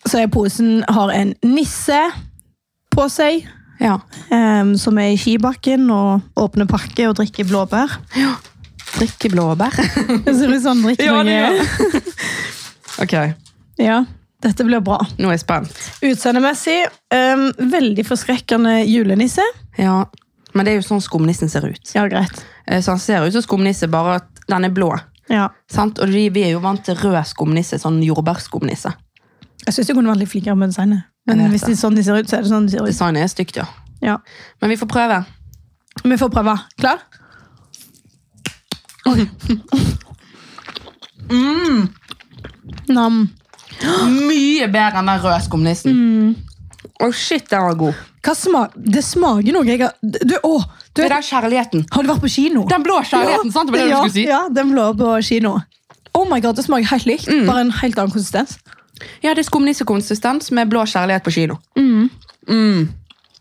[SPEAKER 2] så er posen har en nisse på seg,
[SPEAKER 1] Ja.
[SPEAKER 2] em, som er i skibakken og åpner pakke og drikker blåbær.
[SPEAKER 1] Drikke blåbær.
[SPEAKER 2] Det ser ut som han drikker
[SPEAKER 1] Ja, det gjør
[SPEAKER 2] noe.
[SPEAKER 1] ok,
[SPEAKER 2] Ja, dette blir bra.
[SPEAKER 1] nå er jeg spent.
[SPEAKER 2] Utseendemessig em, veldig forskrekkende julenisse.
[SPEAKER 1] Ja. Men det er jo sånn skumnissen ser ut.
[SPEAKER 2] Ja, greit.
[SPEAKER 1] Eh, Så han ser ut som skumnisse, bare at den er blå.
[SPEAKER 2] Ja.
[SPEAKER 1] Sant? Og de, vi er jo vant til rød skumnisse, sånn jordbærskumnisse.
[SPEAKER 2] Jeg syns det kunne vært litt flinkere med designet.
[SPEAKER 1] Jeg
[SPEAKER 2] Men
[SPEAKER 1] vet
[SPEAKER 2] hvis det er sånn de ser ut, så er det sånn de ser ut.
[SPEAKER 1] Designet er stygt, ja.
[SPEAKER 2] Ja.
[SPEAKER 1] Men vi får prøve.
[SPEAKER 2] Vi får prøve. Klar? Mm. Nam.
[SPEAKER 1] Mye bedre enn den røde skumnissen. Mm. Å, shit, den var god.
[SPEAKER 2] Hva sma det smaker noe jeg har du, å, du,
[SPEAKER 1] Det er
[SPEAKER 2] vet-
[SPEAKER 1] den kjærligheten.
[SPEAKER 2] Har du vært på kino?
[SPEAKER 1] Den blå kjærligheten, sant? Det var det
[SPEAKER 2] ja,
[SPEAKER 1] du skulle si.
[SPEAKER 2] Ja, den blå på kino. Oh my god, Det smaker helt likt,
[SPEAKER 1] Mm.
[SPEAKER 2] bare en helt annen konsistens.
[SPEAKER 1] Ja, det er skumnissekonsistens med blå kjærlighet på kino.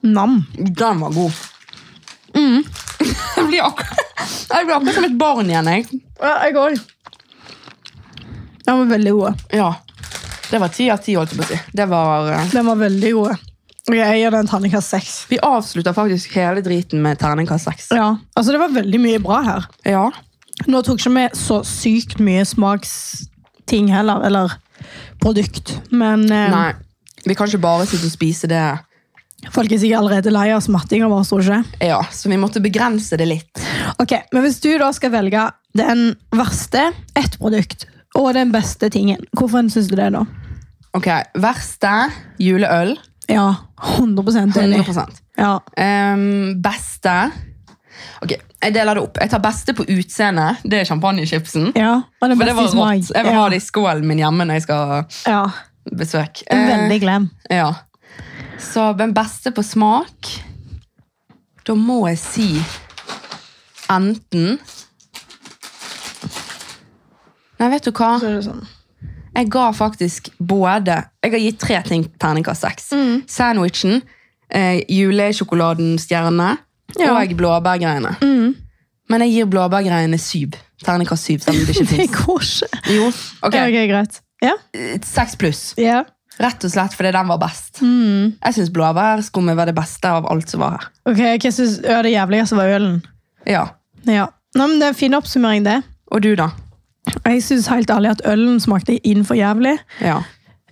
[SPEAKER 2] Nam.
[SPEAKER 1] Den var god. Jeg Mm. blir akkurat jeg blir akkurat som et barn igjen, jeg.
[SPEAKER 2] Ja, jeg òg. Den var veldig god.
[SPEAKER 1] Ja. Det var ti av ti, holdt jeg på å si. Det var eh,
[SPEAKER 2] Den var veldig god. Ok, Jeg gir den terningkast seks.
[SPEAKER 1] Vi avslutter faktisk hele driten med terningkast seks.
[SPEAKER 2] Ja, altså det var veldig mye bra her.
[SPEAKER 1] Ja.
[SPEAKER 2] Nå tok ikke vi så sykt mye smaksting heller, eller produkt. Men eh,
[SPEAKER 1] Nei. Vi kan ikke bare sitte og spise det.
[SPEAKER 2] folk er sikkert allerede lei av smattinga vår. tror du ikke?
[SPEAKER 1] Ja, Så vi måtte begrense det litt.
[SPEAKER 2] Ok, Men hvis du da skal velge den verste, ett produkt, og den beste tingen, hvorfor syns du det, da?
[SPEAKER 1] Ok, Verste juleøl.
[SPEAKER 2] Ja, 100 enig.
[SPEAKER 1] 100
[SPEAKER 2] Ja.
[SPEAKER 1] Ehm, Beste Ok, Jeg deler det opp. Jeg tar beste på utseende. Det er champagnechipsen.
[SPEAKER 2] Ja, og det,
[SPEAKER 1] For det
[SPEAKER 2] beste i
[SPEAKER 1] var
[SPEAKER 2] smak.
[SPEAKER 1] rått. Jeg vil
[SPEAKER 2] ja.
[SPEAKER 1] ha det i skålen min hjemme når jeg skal ha
[SPEAKER 2] Ja,
[SPEAKER 1] besøk.
[SPEAKER 2] en
[SPEAKER 1] Eh,
[SPEAKER 2] veldig glem.
[SPEAKER 1] ja. Så den beste på smak Da må jeg si enten Nei, vet du hva?
[SPEAKER 2] Så er det sånn.
[SPEAKER 1] Jeg ga faktisk både Jeg har gitt tre ting terningkast seks. Sandwichen, eh, julesjokoladen stjerne
[SPEAKER 2] Ja.
[SPEAKER 1] og blåbærgreiene. Men jeg gir blåbærgreiene syv. Terningkast syv, selv om det ikke
[SPEAKER 2] Det
[SPEAKER 1] fins.
[SPEAKER 2] går ikke.
[SPEAKER 1] Jo, ok.
[SPEAKER 2] Ja, ok, greit. Ja.
[SPEAKER 1] Seks pluss.
[SPEAKER 2] Ja.
[SPEAKER 1] Rett og slett fordi den var best. Jeg syns blåbærskummet var det beste av alt som var her.
[SPEAKER 2] Ok, hva synes ja, det jævligste var ølen?
[SPEAKER 1] Ja.
[SPEAKER 2] Ja. Nei, men det er en fin oppsummering, det.
[SPEAKER 1] Og du, da?
[SPEAKER 2] Jeg syns helt ærlig at ølen smakte inn for jævlig.
[SPEAKER 1] Ja.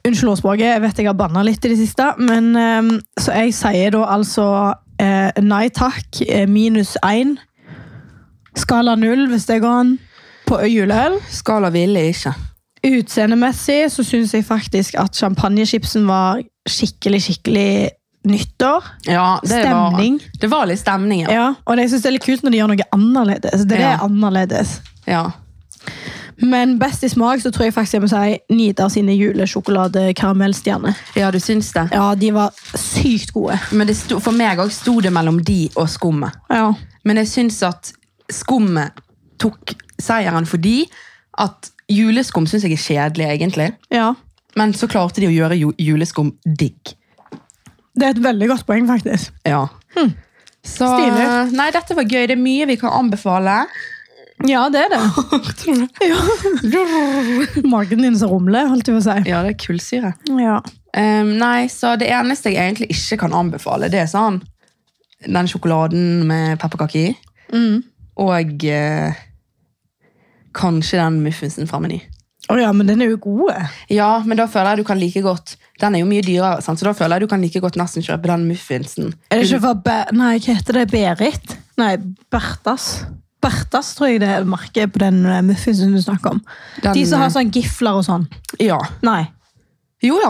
[SPEAKER 2] Unnskyld ordspråket, jeg vet jeg har banna litt i det siste. Men, ehm, så jeg sier da altså eh, nei takk, eh, minus én. Skala null, hvis det går an, på juleøl.
[SPEAKER 1] Skala ville ikke.
[SPEAKER 2] Utseendemessig så syns jeg faktisk at champagnechipsen var skikkelig, skikkelig nyttår.
[SPEAKER 1] Ja, det
[SPEAKER 2] Stemning.
[SPEAKER 1] Var, det var litt stemning, ja.
[SPEAKER 2] Ja, og det, jeg synes det er litt kult når de gjør noe annerledes. Det
[SPEAKER 1] Ja.
[SPEAKER 2] er annerledes.
[SPEAKER 1] ja.
[SPEAKER 2] Men best i smak så tror jeg faktisk jeg må si Nidar sine julesjokoladekaramellstjerner.
[SPEAKER 1] Ja, du syns det.
[SPEAKER 2] Ja, de var sykt gode.
[SPEAKER 1] Men det sto, for meg òg sto det mellom de og skummet.
[SPEAKER 2] Ja.
[SPEAKER 1] Men jeg syns at skummet tok seieren fordi at juleskum syns jeg er kjedelig, egentlig.
[SPEAKER 2] Ja.
[SPEAKER 1] Men så klarte de å gjøre ju- juleskum digg.
[SPEAKER 2] Det er et veldig godt poeng, faktisk.
[SPEAKER 1] Ja. Så,
[SPEAKER 2] Stilig.
[SPEAKER 1] Nei, dette var gøy. Det er mye vi kan anbefale.
[SPEAKER 2] Ja, det er det. ja. Magen din som rumler, holdt jeg på å si.
[SPEAKER 1] Ja, det er kullsyre.
[SPEAKER 2] Ja.
[SPEAKER 1] Ehm, nei, så det eneste jeg egentlig ikke kan anbefale, det er sånn den sjokoladen med pepperkake i. Mm. Og eh, kanskje den muffinsen fra Meny.
[SPEAKER 2] Å ja, men den er jo god.
[SPEAKER 1] Ja, men da føler jeg du kan like godt Den er jo mye dyrere, sant? så da føler jeg du kan like godt nesten kjøpe den muffinsen.
[SPEAKER 2] Er det ikke fra Be Nei, hva heter det? Berit? Nei, Bertas. Bertas tror jeg det er merket på den eh, muffinsen du snakker om.
[SPEAKER 1] Den-
[SPEAKER 2] De som har sånn gifler og sånn.
[SPEAKER 1] Ja.
[SPEAKER 2] Nei.
[SPEAKER 1] Jo da.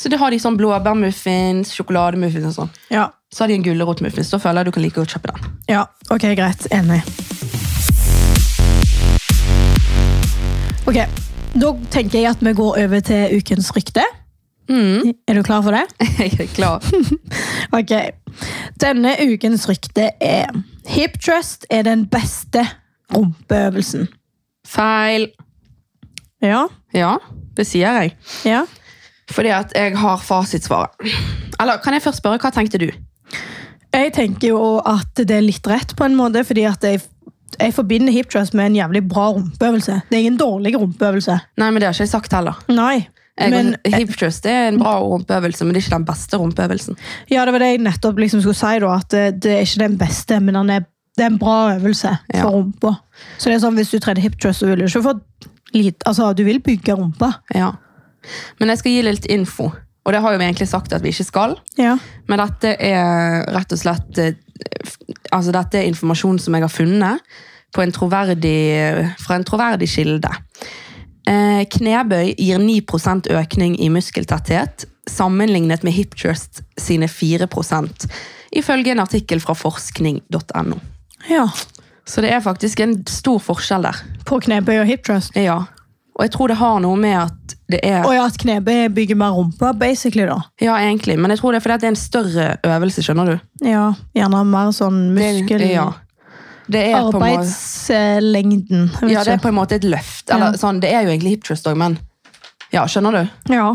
[SPEAKER 1] Så det har de sånn blåbærmuffins, sjokolademuffins og sånn.
[SPEAKER 2] Ja.
[SPEAKER 1] Så har de en gulrotmuffins. Da føler jeg du kan like godt kjøpe den.
[SPEAKER 2] Ja, ok, greit. Enig. Ok, da tenker jeg at vi går over til ukens rykte. Er du klar for det?
[SPEAKER 1] Jeg er klar.
[SPEAKER 2] Ok. Denne ukens rykte er Hip Trust er den beste rumpeøvelsen.
[SPEAKER 1] Feil.
[SPEAKER 2] Ja,
[SPEAKER 1] Ja, det sier jeg.
[SPEAKER 2] ja.
[SPEAKER 1] Fordi at jeg har fasitsvaret. Eller kan jeg først spørre, hva tenkte du?
[SPEAKER 2] Jeg tenker jo at det er litt rett på en måte, fordi at jeg, jeg forbinder hip trust med en jævlig bra rumpeøvelse. Det er ingen dårlig rumpeøvelse.
[SPEAKER 1] Nei, men det har ikke jeg sagt heller.
[SPEAKER 2] Nei.
[SPEAKER 1] Jeg,
[SPEAKER 2] men,
[SPEAKER 1] hip thrust er en bra rumpeøvelse, men det er ikke den beste rumpeøvelsen.
[SPEAKER 2] Ja, det var det jeg nettopp liksom skulle si, da, at det, det er ikke den beste, men den er, det er en bra øvelse for
[SPEAKER 1] Ja.
[SPEAKER 2] rumpa. Så det er sånn, hvis du trener hip thrust, så vil du ikke få lit, altså, du vil bygge rumpa.
[SPEAKER 1] Ja. Men jeg skal gi litt info, og det har jo vi egentlig sagt at vi ikke skal.
[SPEAKER 2] Ja.
[SPEAKER 1] Men dette er rett og slett eh, f- altså dette er informasjon som jeg har funnet på en troverdig, fra en troverdig kilde. Eh, knebøy gir 9 økning i muskeltetthet sammenlignet med hip thrust sine 4 ifølge en artikkel fra forskning.no.
[SPEAKER 2] ja.
[SPEAKER 1] Så det er faktisk en stor forskjell der.
[SPEAKER 2] På knebøy og hip thrust.
[SPEAKER 1] Ja. Og jeg tror det har noe med at det er
[SPEAKER 2] Og ja, at knebøy bygger mer rumpa, basically, da.
[SPEAKER 1] Ja, egentlig, men jeg tror det er fordi at det er en større øvelse, skjønner du?
[SPEAKER 2] Ja, gjerne mer sånn muskel...
[SPEAKER 1] ja. Det er på en måte-
[SPEAKER 2] Arbeidslengden. jeg vet
[SPEAKER 1] Ja, det er
[SPEAKER 2] ikke.
[SPEAKER 1] på en måte et løft. Eller,
[SPEAKER 2] Ja.
[SPEAKER 1] sånn, det er jo egentlig hip thrust òg, men ja, skjønner du?
[SPEAKER 2] ja.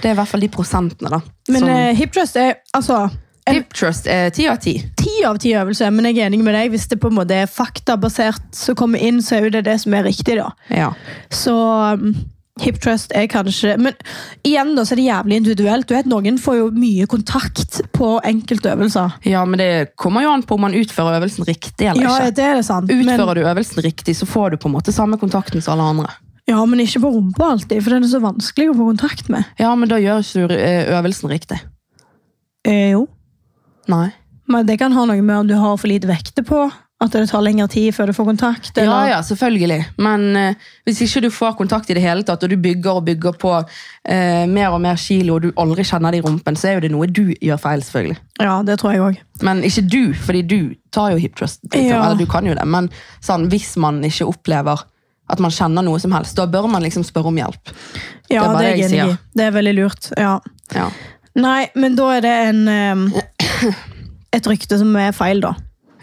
[SPEAKER 1] Det er i hvert fall de prosentene, da.
[SPEAKER 2] Men
[SPEAKER 1] som,
[SPEAKER 2] eh, hip thrust er altså en
[SPEAKER 1] Sånn- hip thrust er ti av ti.
[SPEAKER 2] ti av ti øvelser, men jeg er enig med deg. Hvis det på en måte er faktabasert som kommer inn, så er jo det det som er riktig, da.
[SPEAKER 1] Ja.
[SPEAKER 2] Så um, hip trust er kanskje Men igjen da, så er det jævlig individuelt. Du vet, Noen får jo mye kontakt på enkelte øvelser.
[SPEAKER 1] ja, men det kommer jo an på om man utfører øvelsen riktig eller
[SPEAKER 2] Ja,
[SPEAKER 1] ikke.
[SPEAKER 2] det er det sant. Men,
[SPEAKER 1] Utfører du øvelsen riktig, så får du på en måte samme kontakten som alle andre.
[SPEAKER 2] ja, men ikke på rumpa alltid, for den er så vanskelig å få kontakt med.
[SPEAKER 1] Ja, men da gjør ikke du eh, øvelsen riktig.
[SPEAKER 2] Eh, jo.
[SPEAKER 1] Nei.
[SPEAKER 2] Men det kan ha noe med om du har for lite vekter på, At det tar lengre tid før du får kontakt?
[SPEAKER 1] Ja,
[SPEAKER 2] eller-
[SPEAKER 1] ja, selvfølgelig. Men eh, hvis ikke du får kontakt i det hele tatt, og du bygger og bygger på eh, mer og mer kilo, og du aldri kjenner det i rumpen, så er jo det noe du gjør feil, selvfølgelig.
[SPEAKER 2] ja, det tror jeg òg.
[SPEAKER 1] Men ikke du, fordi du tar jo hip trust. Liksom.
[SPEAKER 2] Ja.
[SPEAKER 1] Eller du kan jo det, men sånn, hvis man ikke opplever at man kjenner noe som helst, da bør man liksom spørre om hjelp. Det er
[SPEAKER 2] Ja,
[SPEAKER 1] bare
[SPEAKER 2] det er
[SPEAKER 1] det jeg
[SPEAKER 2] jeg enig i.
[SPEAKER 1] sier.
[SPEAKER 2] Det er veldig lurt. ja.
[SPEAKER 1] Ja.
[SPEAKER 2] Nei, men da er det en eh, et rykte som er feil, da.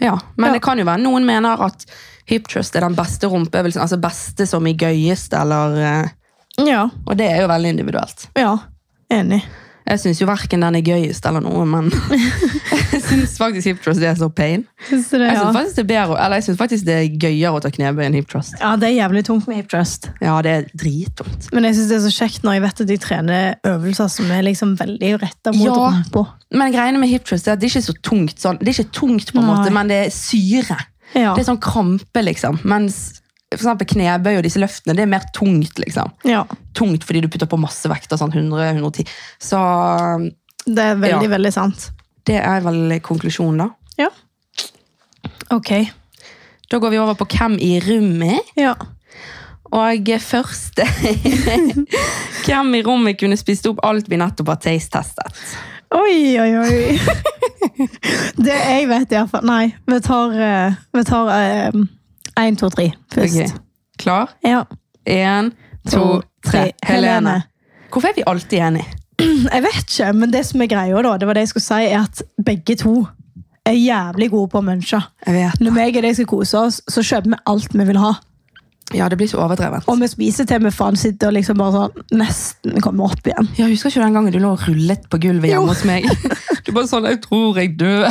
[SPEAKER 1] Ja, men
[SPEAKER 2] Ja.
[SPEAKER 1] det kan jo være. Noen mener at hip trust er den beste rumpeøvelsen, altså beste som i gøyeste, eller eh,
[SPEAKER 2] Ja.
[SPEAKER 1] Og det er jo veldig individuelt.
[SPEAKER 2] ja. Enig.
[SPEAKER 1] Jeg syns jo verken den er gøyest eller noe, men jeg syns faktisk hip trust er så pain.
[SPEAKER 2] Så det,
[SPEAKER 1] Jeg syns
[SPEAKER 2] ja.
[SPEAKER 1] faktisk, det er bedre- eller jeg synes faktisk det er gøyere å ta knebøy enn hip trust.
[SPEAKER 2] ja, det er jævlig tungt med hip trust.
[SPEAKER 1] Ja, det er dritvondt.
[SPEAKER 2] Men jeg synes det er så kjekt når jeg vet at de trener øvelser som er liksom veldig retta mot
[SPEAKER 1] Ja.
[SPEAKER 2] rumpa.
[SPEAKER 1] Men greiene med hip trust er at det er ikke så tungt sånn. Det er ikke tungt, på en
[SPEAKER 2] Nei.
[SPEAKER 1] måte, men det er syre.
[SPEAKER 2] Ja.
[SPEAKER 1] Det er sånn krampe, liksom. Mens for eksempel knebøy og disse løftene, det er mer tungt, liksom.
[SPEAKER 2] ja.
[SPEAKER 1] tungt fordi du putter på masse vekt. og Sånn 100-110. Så
[SPEAKER 2] Det er veldig,
[SPEAKER 1] Ja.
[SPEAKER 2] veldig sant.
[SPEAKER 1] det er vel konklusjonen, da.
[SPEAKER 2] Ja. Ok.
[SPEAKER 1] Da går vi over på hvem i rommet.
[SPEAKER 2] Ja.
[SPEAKER 1] Og først Hvem i rommet kunne spist opp alt vi nettopp har taste-testet?
[SPEAKER 2] Oi, oi, oi. det jeg vet iallfall Nei, vi tar eh, Vi tar én, to, tre først.
[SPEAKER 1] Ok. Klar?
[SPEAKER 2] Ja.
[SPEAKER 1] Én, to, tre. Helene. Hvorfor er vi alltid enige?
[SPEAKER 2] Jeg vet ikke, men det som er greia, da, det var det jeg skulle si, er at begge to er jævlig gode på å munche.
[SPEAKER 1] Jeg vet.
[SPEAKER 2] Når meg og deg skal kose oss, så kjøper vi alt vi vil ha.
[SPEAKER 1] Ja, det blir så overdrevent.
[SPEAKER 2] Og vi spiser til vi faen sitter og liksom bare sånn nesten kommer opp igjen.
[SPEAKER 1] Jeg husker ikke den gangen du lå og rullet på gulvet
[SPEAKER 2] Jo.
[SPEAKER 1] hjemme hos meg. Du bare sånn 'Jeg tror jeg dør'.
[SPEAKER 2] Å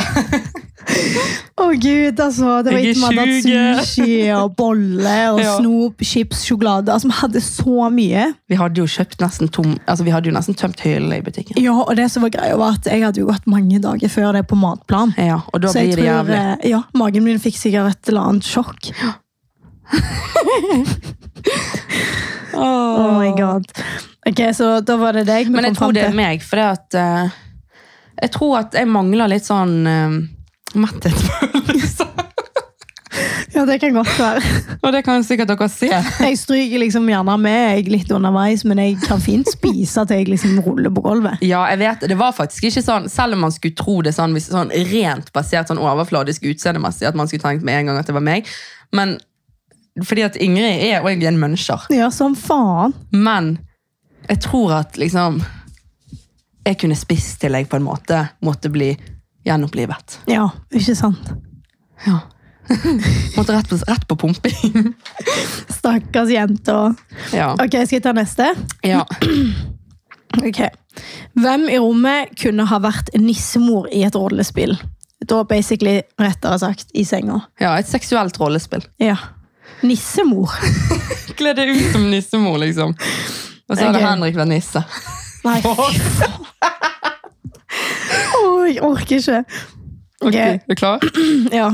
[SPEAKER 2] gud, altså. Det var
[SPEAKER 1] Jeg er
[SPEAKER 2] ikke man
[SPEAKER 1] sjuk.
[SPEAKER 2] hatt sushi og bolle og
[SPEAKER 1] Ja.
[SPEAKER 2] snop, chips, sjokolade. Altså, Vi hadde så mye.
[SPEAKER 1] Vi hadde jo kjøpt nesten tom, altså vi hadde jo nesten tømt hyllene i butikken.
[SPEAKER 2] Ja, og det som var greia, var at jeg hadde jo gått mange dager før det på matplan.
[SPEAKER 1] Ja, og da
[SPEAKER 2] Så jeg
[SPEAKER 1] blir det
[SPEAKER 2] tror
[SPEAKER 1] jævlig.
[SPEAKER 2] eh, ja, magen min fikk sikkert et eller annet sjokk. Oh my god. Ok, Så da var det deg vi
[SPEAKER 1] Men jeg
[SPEAKER 2] kom fram
[SPEAKER 1] tror det er
[SPEAKER 2] til.
[SPEAKER 1] meg, for det at eh, Jeg tror at jeg mangler litt sånn uh, metthetsfølelse.
[SPEAKER 2] Ja, det kan godt være.
[SPEAKER 1] og det kan sikkert dere se.
[SPEAKER 2] Jeg stryker liksom gjerne med jeg litt underveis, men jeg kan fint spise til jeg liksom ruller på gulvet.
[SPEAKER 1] Ja, jeg vet, det var faktisk ikke sånn, Selv om man skulle tro det sånn, hvis, sånn rent basert sånn overfladisk utseendemessig, at man skulle tenkt med en gang at det var meg. Men fordi at Ingrid er og jeg er en muncher.
[SPEAKER 2] Ja, som faen.
[SPEAKER 1] Men jeg tror at liksom Jeg kunne spist til jeg på en måte måtte bli gjenopplivet.
[SPEAKER 2] Ja, ikke sant?
[SPEAKER 1] Ja. måtte rett på, rett på pumping.
[SPEAKER 2] Stakkars jenta.
[SPEAKER 1] ja.
[SPEAKER 2] Ok, skal jeg ta neste?
[SPEAKER 1] ja.
[SPEAKER 2] Ok. Hvem i rommet kunne ha vært nissemor i et rollespill? Da basically, rettere sagt, i senga.
[SPEAKER 1] Ja, et seksuelt rollespill.
[SPEAKER 2] Ja. Nissemor?
[SPEAKER 1] Kle deg ut som nissemor, liksom. Og så hadde
[SPEAKER 2] Ok.
[SPEAKER 1] Henrik vært nisse.
[SPEAKER 2] Nei, fy faen. Åh, jeg orker ikke. Ok,
[SPEAKER 1] Er du klar?
[SPEAKER 2] ja.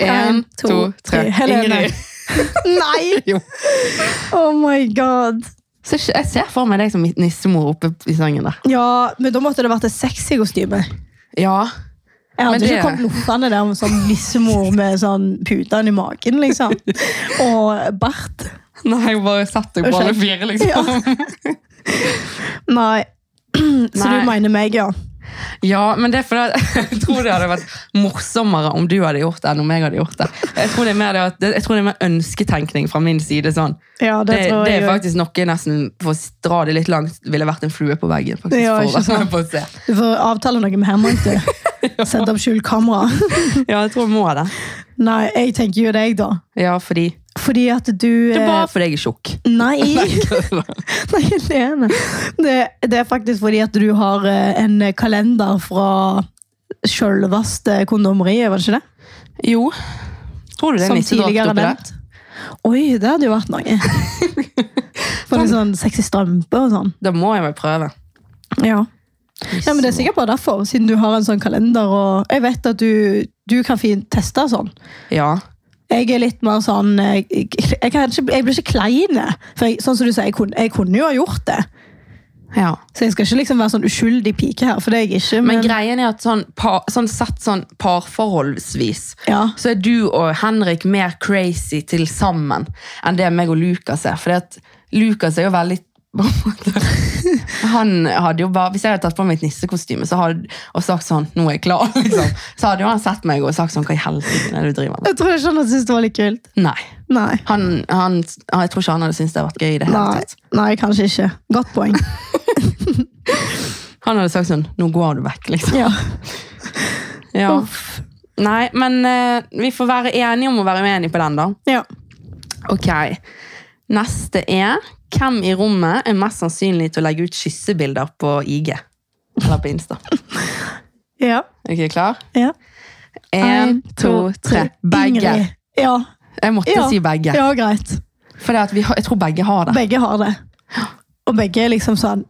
[SPEAKER 1] En,
[SPEAKER 2] En, to, tre. Helene.
[SPEAKER 1] Ingrid.
[SPEAKER 2] Nei!
[SPEAKER 1] Jo.
[SPEAKER 2] Oh my god.
[SPEAKER 1] Så ikke- jeg ser for meg deg som nissemor oppe i sengen der.
[SPEAKER 2] Ja, men da måtte det vært et sexy kostyme.
[SPEAKER 1] Ja.
[SPEAKER 2] Jeg hadde
[SPEAKER 1] Men det-
[SPEAKER 2] ikke kommet loffende der med sånn nissemor med sånn puten i magen, liksom. Og bart.
[SPEAKER 1] Nei, bare sett deg på alle fire, liksom.
[SPEAKER 2] Nei. Så
[SPEAKER 1] Nei.
[SPEAKER 2] du mener meg, ja.
[SPEAKER 1] Ja. men det er fordi at- jeg tror det hadde vært morsommere om du hadde gjort det enn om jeg hadde gjort det. Jeg tror det er mer, det at, jeg tror det er mer ønsketenkning fra min side. sånn.
[SPEAKER 2] Ja, det,
[SPEAKER 1] Det, det,
[SPEAKER 2] tror jeg.
[SPEAKER 1] er
[SPEAKER 2] jo.
[SPEAKER 1] faktisk noe jeg nesten, for å dra det litt langt, ville vært en flue på veggen. faktisk.
[SPEAKER 2] Ja,
[SPEAKER 1] for,
[SPEAKER 2] ikke sant.
[SPEAKER 1] for å se.
[SPEAKER 2] Du får avtale noe med Herman, du. Sett opp skjult kamera.
[SPEAKER 1] Ja, jeg tror jeg må det.
[SPEAKER 2] Nei, jeg tenker jo deg, da.
[SPEAKER 1] Ja, fordi
[SPEAKER 2] Fordi at du
[SPEAKER 1] Det er
[SPEAKER 2] eh,
[SPEAKER 1] bare fordi jeg er tjukk.
[SPEAKER 2] Nei! Nei, Lene. Det, det er faktisk fordi at du har eh, en kalender fra sjølveste kondomeriet, var det ikke det?
[SPEAKER 1] Jo. Tror du det er
[SPEAKER 2] Som
[SPEAKER 1] nissedrakt
[SPEAKER 2] tidligere
[SPEAKER 1] oppi der?
[SPEAKER 2] nevnt. Oi, det hadde jo vært noe. For litt sånn sexy strømpe og sånn.
[SPEAKER 1] Da må jeg vel prøve.
[SPEAKER 2] Ja. ja, men Det er sikkert bare derfor, siden du har en sånn kalender. og Jeg vet at du, du kan fint teste sånn.
[SPEAKER 1] Ja.
[SPEAKER 2] Jeg er litt mer sånn eh, Jeg, jeg, kan ikke, jeg blir ikke klein. For jeg, sånn som du sier, jeg kunne, jeg kunne jo ha gjort det.
[SPEAKER 1] Ja.
[SPEAKER 2] Så jeg skal ikke liksom være sånn uskyldig pike her, for det er jeg ikke.
[SPEAKER 1] Men greien er at sånn, par, sånn sett sånn parforholdsvis,
[SPEAKER 2] Ja.
[SPEAKER 1] så er du og Henrik mer crazy til sammen enn det meg og Lukas er. For Lukas er jo veldig på en måte. han hadde jo bare, Hvis jeg hadde tatt på meg et nissekostyme så hadde, og sagt sånn 'Nå er jeg klar', liksom, så hadde jo han sett meg og sagt sånn 'Hva i helsike er det du driver med?'
[SPEAKER 2] jeg tror ikke han hadde syntes det var litt kult.
[SPEAKER 1] Nei.
[SPEAKER 2] Nei.
[SPEAKER 1] Han, han, jeg tror ikke han hadde syntes det hadde vært gøy. i det hele
[SPEAKER 2] Nei.
[SPEAKER 1] tatt.
[SPEAKER 2] Nei, kanskje ikke. Godt poeng.
[SPEAKER 1] Han hadde sagt sånn 'Nå går du vekk', liksom.
[SPEAKER 2] Ja.
[SPEAKER 1] Ja. Nei, men eh, vi får være enige om å være uenige på den, da.
[SPEAKER 2] ja.
[SPEAKER 1] Ok. Neste er Hvem i rommet er mest sannsynlig til å legge ut kyssebilder på IG? Eller på Insta.
[SPEAKER 2] Ja.
[SPEAKER 1] Er dere klar?
[SPEAKER 2] ja.
[SPEAKER 1] Én, to, tre. Begge.
[SPEAKER 2] Ingrid. Ja.
[SPEAKER 1] Jeg måtte
[SPEAKER 2] Ja.
[SPEAKER 1] si begge.
[SPEAKER 2] ja, greit.
[SPEAKER 1] For det at vi har, jeg tror begge har det.
[SPEAKER 2] Begge har det. Og begge er liksom sånn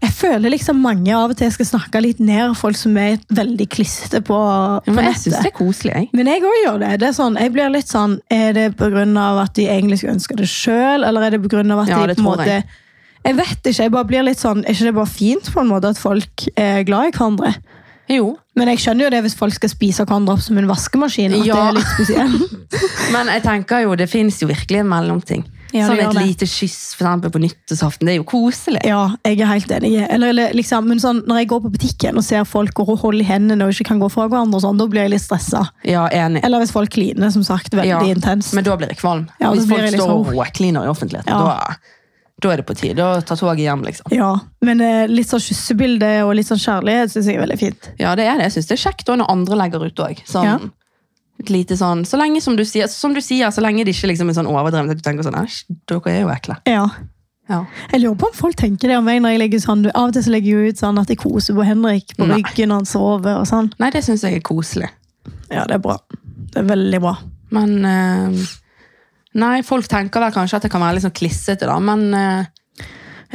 [SPEAKER 2] Jeg føler liksom mange av og til skal snakke litt ned folk som er veldig klissete på, på
[SPEAKER 1] Men jeg syns
[SPEAKER 2] nettet.
[SPEAKER 1] det er koselig. jeg.
[SPEAKER 2] Men jeg òg gjør det. det er sånn, jeg blir litt sånn, Er det pga. at de egentlig skulle ønske det sjøl, eller er det pga. at
[SPEAKER 1] Ja,
[SPEAKER 2] de
[SPEAKER 1] det
[SPEAKER 2] på en
[SPEAKER 1] tror
[SPEAKER 2] måte
[SPEAKER 1] jeg.
[SPEAKER 2] jeg. vet ikke. jeg bare blir litt sånn, Er ikke det bare fint på en måte at folk er glad i hverandre?
[SPEAKER 1] Jo.
[SPEAKER 2] Men jeg skjønner jo det hvis folk skal spise hverandre opp som en vaskemaskin. at
[SPEAKER 1] Ja.
[SPEAKER 2] det er litt spesielt.
[SPEAKER 1] Men jeg tenker jo, det fins jo virkelig en mellomting.
[SPEAKER 2] Ja,
[SPEAKER 1] sånn
[SPEAKER 2] det
[SPEAKER 1] et
[SPEAKER 2] gjør det.
[SPEAKER 1] lite kyss for eksempel, på nyttårsaften. Det er jo koselig.
[SPEAKER 2] Ja, jeg er helt enig. Eller, eller liksom, men sånn, Når jeg går på butikken og ser folk gå og holde i hendene og ikke kan gå fra hverandre, og sånn, da blir jeg litt stressa.
[SPEAKER 1] Ja, enig.
[SPEAKER 2] Eller hvis folk kliner som sagt, veldig
[SPEAKER 1] Ja,
[SPEAKER 2] intenst.
[SPEAKER 1] Men da blir jeg kvalm.
[SPEAKER 2] Ja, da
[SPEAKER 1] Hvis
[SPEAKER 2] blir
[SPEAKER 1] folk
[SPEAKER 2] jeg litt
[SPEAKER 1] står og
[SPEAKER 2] sånn-
[SPEAKER 1] råkliner i offentligheten,
[SPEAKER 2] Ja.
[SPEAKER 1] da, da er det på tide å ta toget hjem, liksom.
[SPEAKER 2] ja, men eh, litt sånn kyssebilde og litt sånn kjærlighet syns jeg er veldig fint.
[SPEAKER 1] Ja, det er det. Jeg synes det er kjekt også når andre legger ut òg. Sånn,
[SPEAKER 2] Ja.
[SPEAKER 1] Et lite sånn Så lenge som du sier, som du sier, så lenge det ikke liksom er sånn overdrevet at du tenker sånn Æsj, dere er jo ekle.
[SPEAKER 2] Ja.
[SPEAKER 1] Ja.
[SPEAKER 2] Jeg lurer på om folk tenker det om meg når jeg legger sånn, av og til så legger jeg ut sånn at jeg koser på Henrik på
[SPEAKER 1] Nei.
[SPEAKER 2] ryggen når han sover. og sånn.
[SPEAKER 1] Nei, det syns jeg er koselig.
[SPEAKER 2] Ja, det er bra. Det er veldig bra.
[SPEAKER 1] Men eh, Nei, folk tenker vel kanskje at det kan være litt sånn klissete, da, men eh,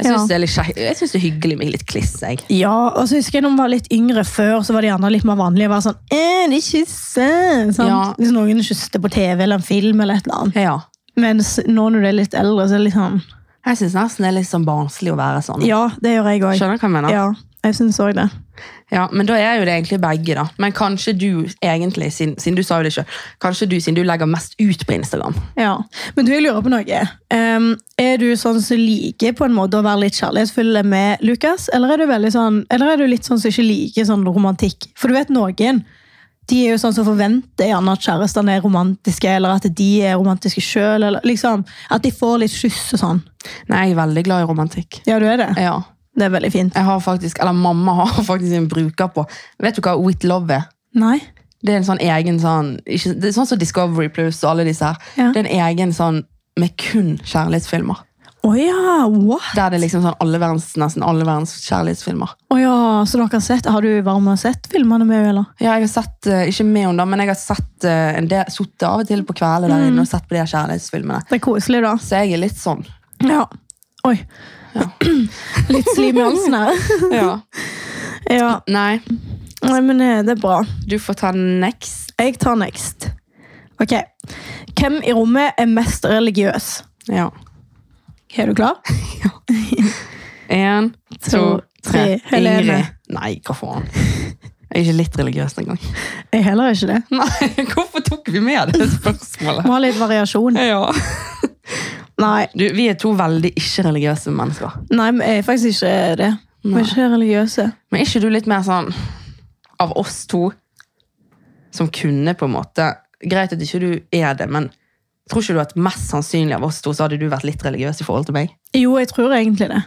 [SPEAKER 1] jeg syns
[SPEAKER 2] Ja.
[SPEAKER 1] det er litt kjekt. Jeg synes det er hyggelig med litt kliss, jeg.
[SPEAKER 2] Ja, og så husker jeg når man var litt yngre før, så var det gjerne litt mer vanlig å være sånn «Eh, de kysser! sant?
[SPEAKER 1] Ja.
[SPEAKER 2] Hvis noen kysste på TV eller en film eller et eller annet.
[SPEAKER 1] Ja.
[SPEAKER 2] Mens nå når du er litt eldre, så er det litt sånn
[SPEAKER 1] Jeg syns nesten det er litt sånn barnslig å være sånn.
[SPEAKER 2] Ja, det gjør jeg òg.
[SPEAKER 1] Skjønner du hva jeg mener?
[SPEAKER 2] Ja, jeg syns òg det.
[SPEAKER 1] Ja, men da er jo det egentlig begge, da. Men kanskje du egentlig, siden, siden du sa jo det selv, kanskje du siden du legger mest ut på Instagram.
[SPEAKER 2] Ja. Men du, jeg lurer på noe. Ehm, er du sånn som liker på en måte å være litt kjærlighetsfull med Lukas, eller er du veldig sånn, eller er du litt sånn som ikke liker sånn romantikk? For du vet noen de er jo sånn som forventer gjerne at kjærestene er romantiske, eller at de er romantiske sjøl. Liksom, at de får litt kyss og sånn.
[SPEAKER 1] Nei, jeg er veldig glad i romantikk.
[SPEAKER 2] Ja, du er det?
[SPEAKER 1] Ja.
[SPEAKER 2] Det er veldig fint.
[SPEAKER 1] Jeg har faktisk, eller mamma har faktisk en bruker på Vet du hva With Love er?
[SPEAKER 2] Nei?
[SPEAKER 1] Det er en sånn egen sånn ikke, Det er sånn som Discovery Plus og alle disse her.
[SPEAKER 2] Ja.
[SPEAKER 1] Det er en egen sånn med kun kjærlighetsfilmer.
[SPEAKER 2] Å ja, what?
[SPEAKER 1] Der det er liksom sånn alle verdens, nesten alle verdens kjærlighetsfilmer.
[SPEAKER 2] Å ja, så dere har sett, Har du vært med og sett filmene med henne, eller?
[SPEAKER 1] Ja, jeg har sett, eh, ikke med henne da, men jeg har sett eh, en del, suttet av og til på kvelden der inne og sett på de her kjærlighetsfilmene.
[SPEAKER 2] Det er koselig, da.
[SPEAKER 1] Så jeg er litt sånn.
[SPEAKER 2] Ja. Oi. Litt slim i halsen her.
[SPEAKER 1] Ja.
[SPEAKER 2] ja.
[SPEAKER 1] Nei,
[SPEAKER 2] Nei, men eh, det er bra.
[SPEAKER 1] du får ta next.
[SPEAKER 2] Jeg tar next. Ok. Hvem i rommet er mest religiøs?
[SPEAKER 1] Ja.
[SPEAKER 2] Er du klar?
[SPEAKER 1] En, to, tre.
[SPEAKER 2] Helene.
[SPEAKER 1] Ingrid. Nei, hva faen. Jeg er ikke litt religiøs engang.
[SPEAKER 2] Jeg er heller ikke det.
[SPEAKER 1] Nei, hvorfor tok vi med det spørsmålet?
[SPEAKER 2] Må ha litt variasjon.
[SPEAKER 1] Ja.
[SPEAKER 2] Nei,
[SPEAKER 1] Du, vi er to veldig ikke-religiøse mennesker.
[SPEAKER 2] nei men jeg er faktisk ikke det. Vi er ikke religiøse.
[SPEAKER 1] Men er ikke du litt mer sånn av oss to som kunne på en måte Greit at ikke du er det, men tror ikke du at mest sannsynlig av oss to så hadde du vært litt religiøs i forhold til meg?
[SPEAKER 2] Jo, jeg tror egentlig det.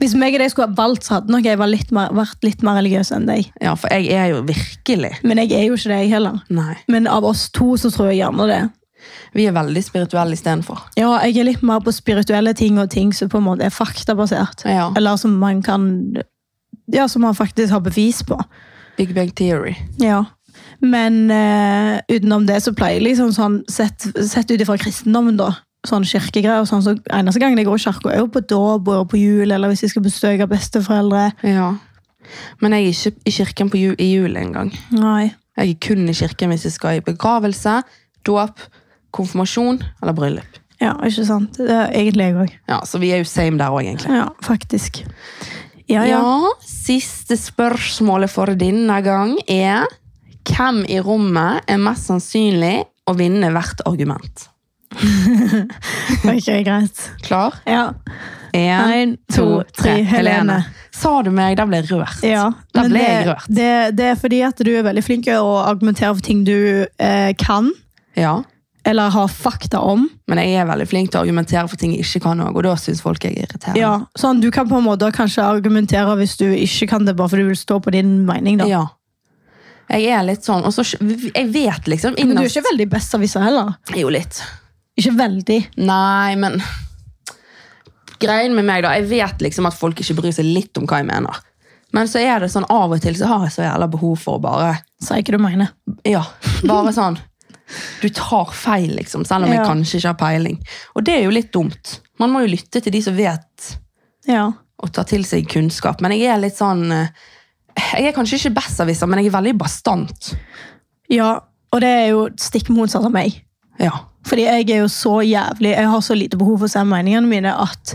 [SPEAKER 2] Hvis meg og deg skulle ha valgt, så hadde nok jeg vært litt mer, vært litt mer religiøs enn deg.
[SPEAKER 1] Ja, for jeg er jo virkelig
[SPEAKER 2] Men jeg er jo ikke det, jeg heller.
[SPEAKER 1] Nei.
[SPEAKER 2] Men av oss to så tror jeg gjerne det.
[SPEAKER 1] Vi er veldig spirituelle istedenfor.
[SPEAKER 2] Ja, jeg er litt mer på spirituelle ting og ting som på en måte er faktabasert.
[SPEAKER 1] Ja.
[SPEAKER 2] Eller som man kan Ja, som man faktisk har bevis på.
[SPEAKER 1] Big Bang Theory.
[SPEAKER 2] Ja. Men eh, utenom det så pleier jeg liksom sånn Sett, sett ut ifra kristendommen, da. Sånn kirkegreier og sånn. Så eneste gangen jeg går i kirka, er jo på dåp og på jul, eller hvis jeg skal besøke besteforeldre.
[SPEAKER 1] Ja. Men jeg er ikke i kirken på ju- i jul engang.
[SPEAKER 2] Nei.
[SPEAKER 1] Jeg er kun i kirken hvis jeg skal i begravelse, dåp, konfirmasjon eller bryllup.
[SPEAKER 2] Ja, ikke sant. Det er egentlig jeg òg.
[SPEAKER 1] Ja, Så vi er jo same der òg, egentlig.
[SPEAKER 2] Ja, faktisk. Ja, ja.
[SPEAKER 1] Siste spørsmålet for denne gang er hvem i rommet er mest sannsynlig å vinne hvert argument?
[SPEAKER 2] Ok, greit.
[SPEAKER 1] Klar?
[SPEAKER 2] Ja.
[SPEAKER 1] Én,
[SPEAKER 2] En, to, tre. Helene.
[SPEAKER 1] Sa du meg? Da ble jeg rørt.
[SPEAKER 2] Ja,
[SPEAKER 1] Da
[SPEAKER 2] men
[SPEAKER 1] ble
[SPEAKER 2] det,
[SPEAKER 1] jeg rørt.
[SPEAKER 2] Det, det er fordi at du er veldig flink til å argumentere for ting du eh, kan,
[SPEAKER 1] Ja.
[SPEAKER 2] eller har fakta om.
[SPEAKER 1] Men jeg er veldig flink til å argumentere for ting jeg ikke kan òg, og da syns folk jeg er irriterende.
[SPEAKER 2] Ja, sånn, Du kan på en måte kanskje argumentere hvis du ikke kan det, bare fordi du vil stå på din mening. da.
[SPEAKER 1] Ja. Jeg er litt sånn, og så Jeg vet liksom
[SPEAKER 2] Men du er
[SPEAKER 1] innerst-
[SPEAKER 2] ikke veldig besserwisser heller.
[SPEAKER 1] Jo, litt.
[SPEAKER 2] Ikke veldig.
[SPEAKER 1] Nei, men Greien med meg, da. Jeg vet liksom at folk ikke bryr seg litt om hva jeg mener. Men så er det sånn av og til så har jeg så jævla behov for å bare
[SPEAKER 2] Sa jeg ikke du mener.
[SPEAKER 1] Ja, bare sånn Du tar feil, liksom, selv om jeg
[SPEAKER 2] Ja.
[SPEAKER 1] kanskje ikke har peiling. Og det er jo litt dumt. Man må jo lytte til de som vet,
[SPEAKER 2] Ja.
[SPEAKER 1] og ta til seg kunnskap. Men jeg er litt sånn eh, Jeg er kanskje ikke besserwisser, men jeg er veldig bastant.
[SPEAKER 2] ja, og det er jo stikk motsatt av meg.
[SPEAKER 1] Ja.
[SPEAKER 2] Fordi jeg er jo så jævlig Jeg har så lite behov for å se meningene mine at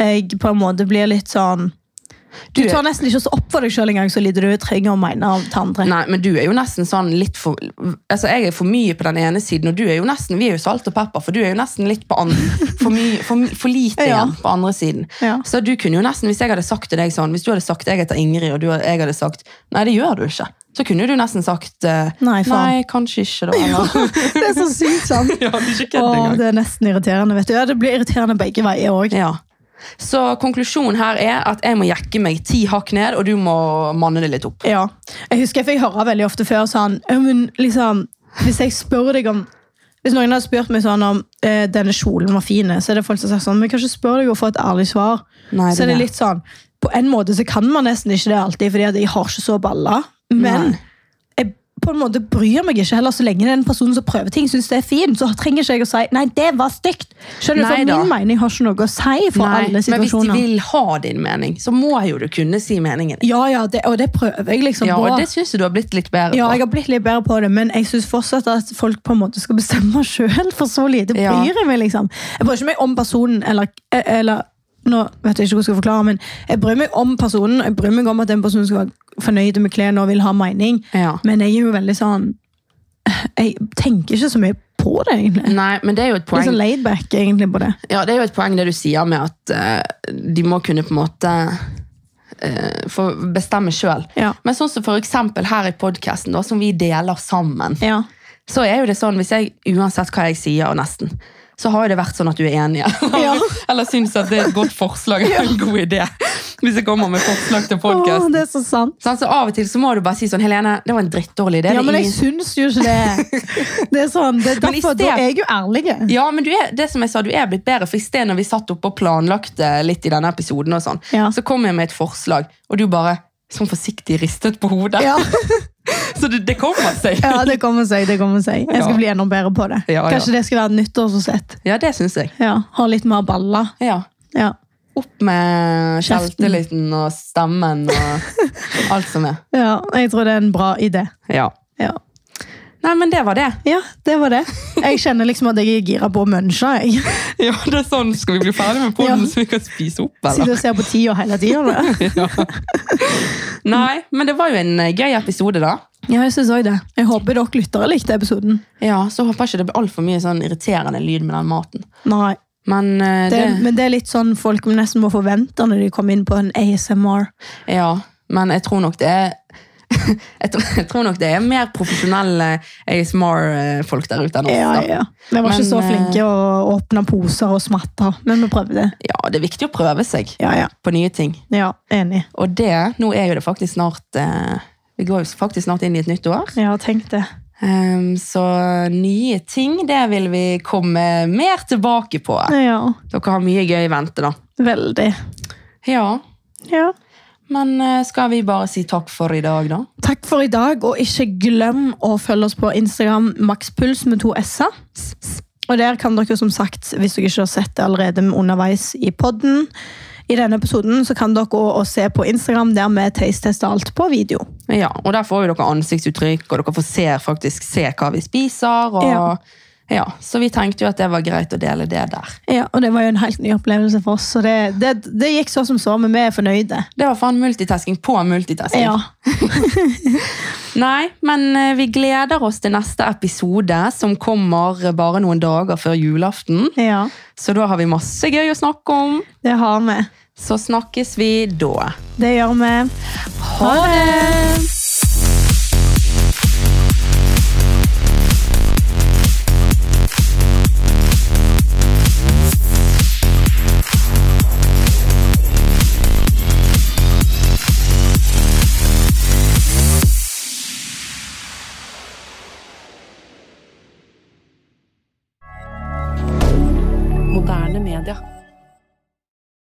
[SPEAKER 2] jeg på en måte blir litt sånn Du
[SPEAKER 1] Du er-
[SPEAKER 2] tar nesten ikke så opp for deg sjøl engang, så lite du trenger å mene av til andre.
[SPEAKER 1] Nei, men du er jo nesten sånn litt for Altså, jeg er for mye på den ene siden, og du er jo nesten Vi er jo salt og pepper, for du er jo nesten litt på andre For, mye, for, my- for lite
[SPEAKER 2] Ja.
[SPEAKER 1] igjen på andre siden.
[SPEAKER 2] Ja.
[SPEAKER 1] Så du kunne jo nesten, hvis jeg hadde sagt til deg sånn Hvis du hadde sagt jeg heter Ingrid, og du, hadde- jeg hadde sagt Nei, det gjør du ikke. Så kunne du nesten sagt eh,
[SPEAKER 2] Nei, faen.
[SPEAKER 1] nei, kanskje ikke, da. Eller,
[SPEAKER 2] Det er så sykt sant.
[SPEAKER 1] ja, du er ikke kødd
[SPEAKER 2] Åh,
[SPEAKER 1] engang.
[SPEAKER 2] det er nesten irriterende. vet du. Ja, det blir irriterende begge veier òg.
[SPEAKER 1] Ja. Så konklusjonen her er at jeg må jekke meg ti hakk ned, og du må manne det litt opp.
[SPEAKER 2] Ja. Jeg husker jeg fikk høre veldig ofte før sånn «Ja, men liksom, Hvis jeg spør deg om Hvis noen hadde spurt meg sånn om eh, denne kjolen var fin, så er det folk som har sagt sånn Men kan ikke spørre deg og få et ærlig svar.
[SPEAKER 1] Nei, det
[SPEAKER 2] så er
[SPEAKER 1] er
[SPEAKER 2] det
[SPEAKER 1] det.
[SPEAKER 2] litt sånn På en måte så kan man nesten ikke det alltid, fordi at jeg har ikke så baller. Men
[SPEAKER 1] Nei.
[SPEAKER 2] jeg på en måte bryr meg ikke heller så lenge den personen som prøver ting, syns det er fint. Så trenger ikke jeg å si 'nei, det var stygt'. Skjønner du,
[SPEAKER 1] Nei
[SPEAKER 2] for
[SPEAKER 1] da.
[SPEAKER 2] Min mening har ikke noe å si for
[SPEAKER 1] Nei,
[SPEAKER 2] alle
[SPEAKER 1] men hvis de
[SPEAKER 2] situasjoner.
[SPEAKER 1] vil ha din mening, så må jo du kunne si meningen.
[SPEAKER 2] Ja, ja, det, og det prøver jeg liksom
[SPEAKER 1] Ja,
[SPEAKER 2] på.
[SPEAKER 1] og det syns jeg du har blitt litt bedre
[SPEAKER 2] Ja, jeg
[SPEAKER 1] på.
[SPEAKER 2] har blitt litt bedre på det, men jeg syns fortsatt at folk på en måte skal bestemme sjøl, for så lite
[SPEAKER 1] Ja.
[SPEAKER 2] bryr jeg meg, liksom. Jeg bryr ikke meg om personen, eller, eh, eller Nå vet jeg ikke hvordan jeg skal forklare, men jeg bryr meg om personen, og jeg bryr meg om at den personen skal være fornøyd med klærne og vil ha mening,
[SPEAKER 1] Ja.
[SPEAKER 2] men jeg er jo veldig sånn Jeg tenker ikke så mye på det, egentlig.
[SPEAKER 1] Nei, men det er jo et
[SPEAKER 2] Litt
[SPEAKER 1] poeng,
[SPEAKER 2] sånn laid back, egentlig, på det.
[SPEAKER 1] ja, det, er jo et poeng det du sier med at eh, de må kunne på en måte eh, få bestemme sjøl.
[SPEAKER 2] Ja.
[SPEAKER 1] Men sånn som for eksempel her i podkasten, som vi deler sammen,
[SPEAKER 2] Ja.
[SPEAKER 1] så er jo det sånn hvis jeg, uansett hva jeg sier, og nesten, så har jo det vært sånn at du er enig.
[SPEAKER 2] Ja.
[SPEAKER 1] Eller syns at det er et godt forslag eller en god idé. Hvis jeg kommer med forslag til
[SPEAKER 2] Åh,
[SPEAKER 1] podkast.
[SPEAKER 2] det er så sant.
[SPEAKER 1] Sånn, så av og til så må du bare si sånn Helene, det var en drittdårlig idé. det
[SPEAKER 2] Ja,
[SPEAKER 1] er
[SPEAKER 2] men jeg
[SPEAKER 1] ingen-
[SPEAKER 2] syns jo ikke det. Det er sånn, det er
[SPEAKER 1] Men i
[SPEAKER 2] derfor da
[SPEAKER 1] sted-
[SPEAKER 2] er jeg jo ærlig.
[SPEAKER 1] Ja, men du er, det som jeg sa, du er blitt bedre, for i sted når vi satt oppe og planlagte litt i denne episoden, og sånn,
[SPEAKER 2] Ja.
[SPEAKER 1] så kom jeg med et forslag, og du bare sånn forsiktig ristet på hodet.
[SPEAKER 2] Ja.
[SPEAKER 1] Så det, det kommer seg.
[SPEAKER 2] Ja, det kommer seg. det kommer seg. Jeg skal
[SPEAKER 1] Ja.
[SPEAKER 2] bli enda bedre på det.
[SPEAKER 1] Ja, ja.
[SPEAKER 2] Kanskje det skal være nyttårsforsett.
[SPEAKER 1] Ja, det synes jeg.
[SPEAKER 2] Ja, ha litt mer baller.
[SPEAKER 1] Ja.
[SPEAKER 2] Ja.
[SPEAKER 1] Opp med
[SPEAKER 2] Kjeften.
[SPEAKER 1] kjelteliten og stemmen og alt som er.
[SPEAKER 2] ja, jeg tror det er en bra idé.
[SPEAKER 1] Ja.
[SPEAKER 2] Ja.
[SPEAKER 1] Nei, men det var det.
[SPEAKER 2] ja, det var det. Jeg kjenner liksom at jeg er gira på å munche. Jeg
[SPEAKER 1] Ja, det er sånn, skal vi bli ferdig med
[SPEAKER 2] podden, Ja.
[SPEAKER 1] så vi kan spise opp,
[SPEAKER 2] sitter og ser på tida hele tida.
[SPEAKER 1] Nei, men det var jo en eh, gøy episode da.
[SPEAKER 2] Ja, jeg synes også det. Jeg håper dere lyttere likte episoden.
[SPEAKER 1] Ja, så håper jeg ikke det blir alt for mye sånn irriterende lyd med den maten.
[SPEAKER 2] Nei,
[SPEAKER 1] Men eh,
[SPEAKER 2] det, Men det er litt sånn folk nesten må forvente når de kommer inn på en ASMR.
[SPEAKER 1] Ja, men jeg tror nok det er jeg tror, jeg tror nok det er mer profesjonelle ASMR-folk der ute enn oss.
[SPEAKER 2] Ja,
[SPEAKER 1] da.
[SPEAKER 2] ja. Vi var
[SPEAKER 1] Men,
[SPEAKER 2] ikke så
[SPEAKER 1] eh,
[SPEAKER 2] flinke å åpne poser og smatte, men vi prøvde.
[SPEAKER 1] Ja, det er viktig å prøve seg
[SPEAKER 2] Ja, ja.
[SPEAKER 1] på nye ting.
[SPEAKER 2] ja enig.
[SPEAKER 1] Og det, nå er jo det faktisk snart eh, Vi går jo faktisk snart inn i et nytt år.
[SPEAKER 2] Ja, tenk det.
[SPEAKER 1] Ehm, så nye ting, det vil vi komme mer tilbake på.
[SPEAKER 2] Ja,
[SPEAKER 1] Dere har mye gøy i vente, da.
[SPEAKER 2] veldig.
[SPEAKER 1] Ja,
[SPEAKER 2] Ja.
[SPEAKER 1] men eh, skal vi bare si takk for i dag, da?
[SPEAKER 2] Takk for i dag, og ikke glem å følge oss på Instagram makspuls med to s-er. Og der kan dere som sagt, hvis dere ikke har sett det allerede underveis i podden, i denne episoden, så kan dere også se på Instagram der vi taste-tester alt på video.
[SPEAKER 1] Ja, og der får jo dere ansiktsuttrykk, og dere får se, faktisk se hva vi spiser. Og,
[SPEAKER 2] Ja.
[SPEAKER 1] ja. Ja, Så vi tenkte jo at det var greit å dele det der.
[SPEAKER 2] Ja, og det var jo en helt ny opplevelse for oss. Så det, det, det gikk så som så, men vi er fornøyde.
[SPEAKER 1] Det var faen multitasking på multitasking.
[SPEAKER 2] Ja.
[SPEAKER 1] Nei, men eh, vi gleder oss til neste episode, som kommer bare noen dager før julaften.
[SPEAKER 2] ja.
[SPEAKER 1] Så da har vi masse gøy å snakke om.
[SPEAKER 2] Det har vi.
[SPEAKER 1] Så snakkes vi da.
[SPEAKER 2] Det gjør vi.
[SPEAKER 1] Ha det!
[SPEAKER 3] Moderne media.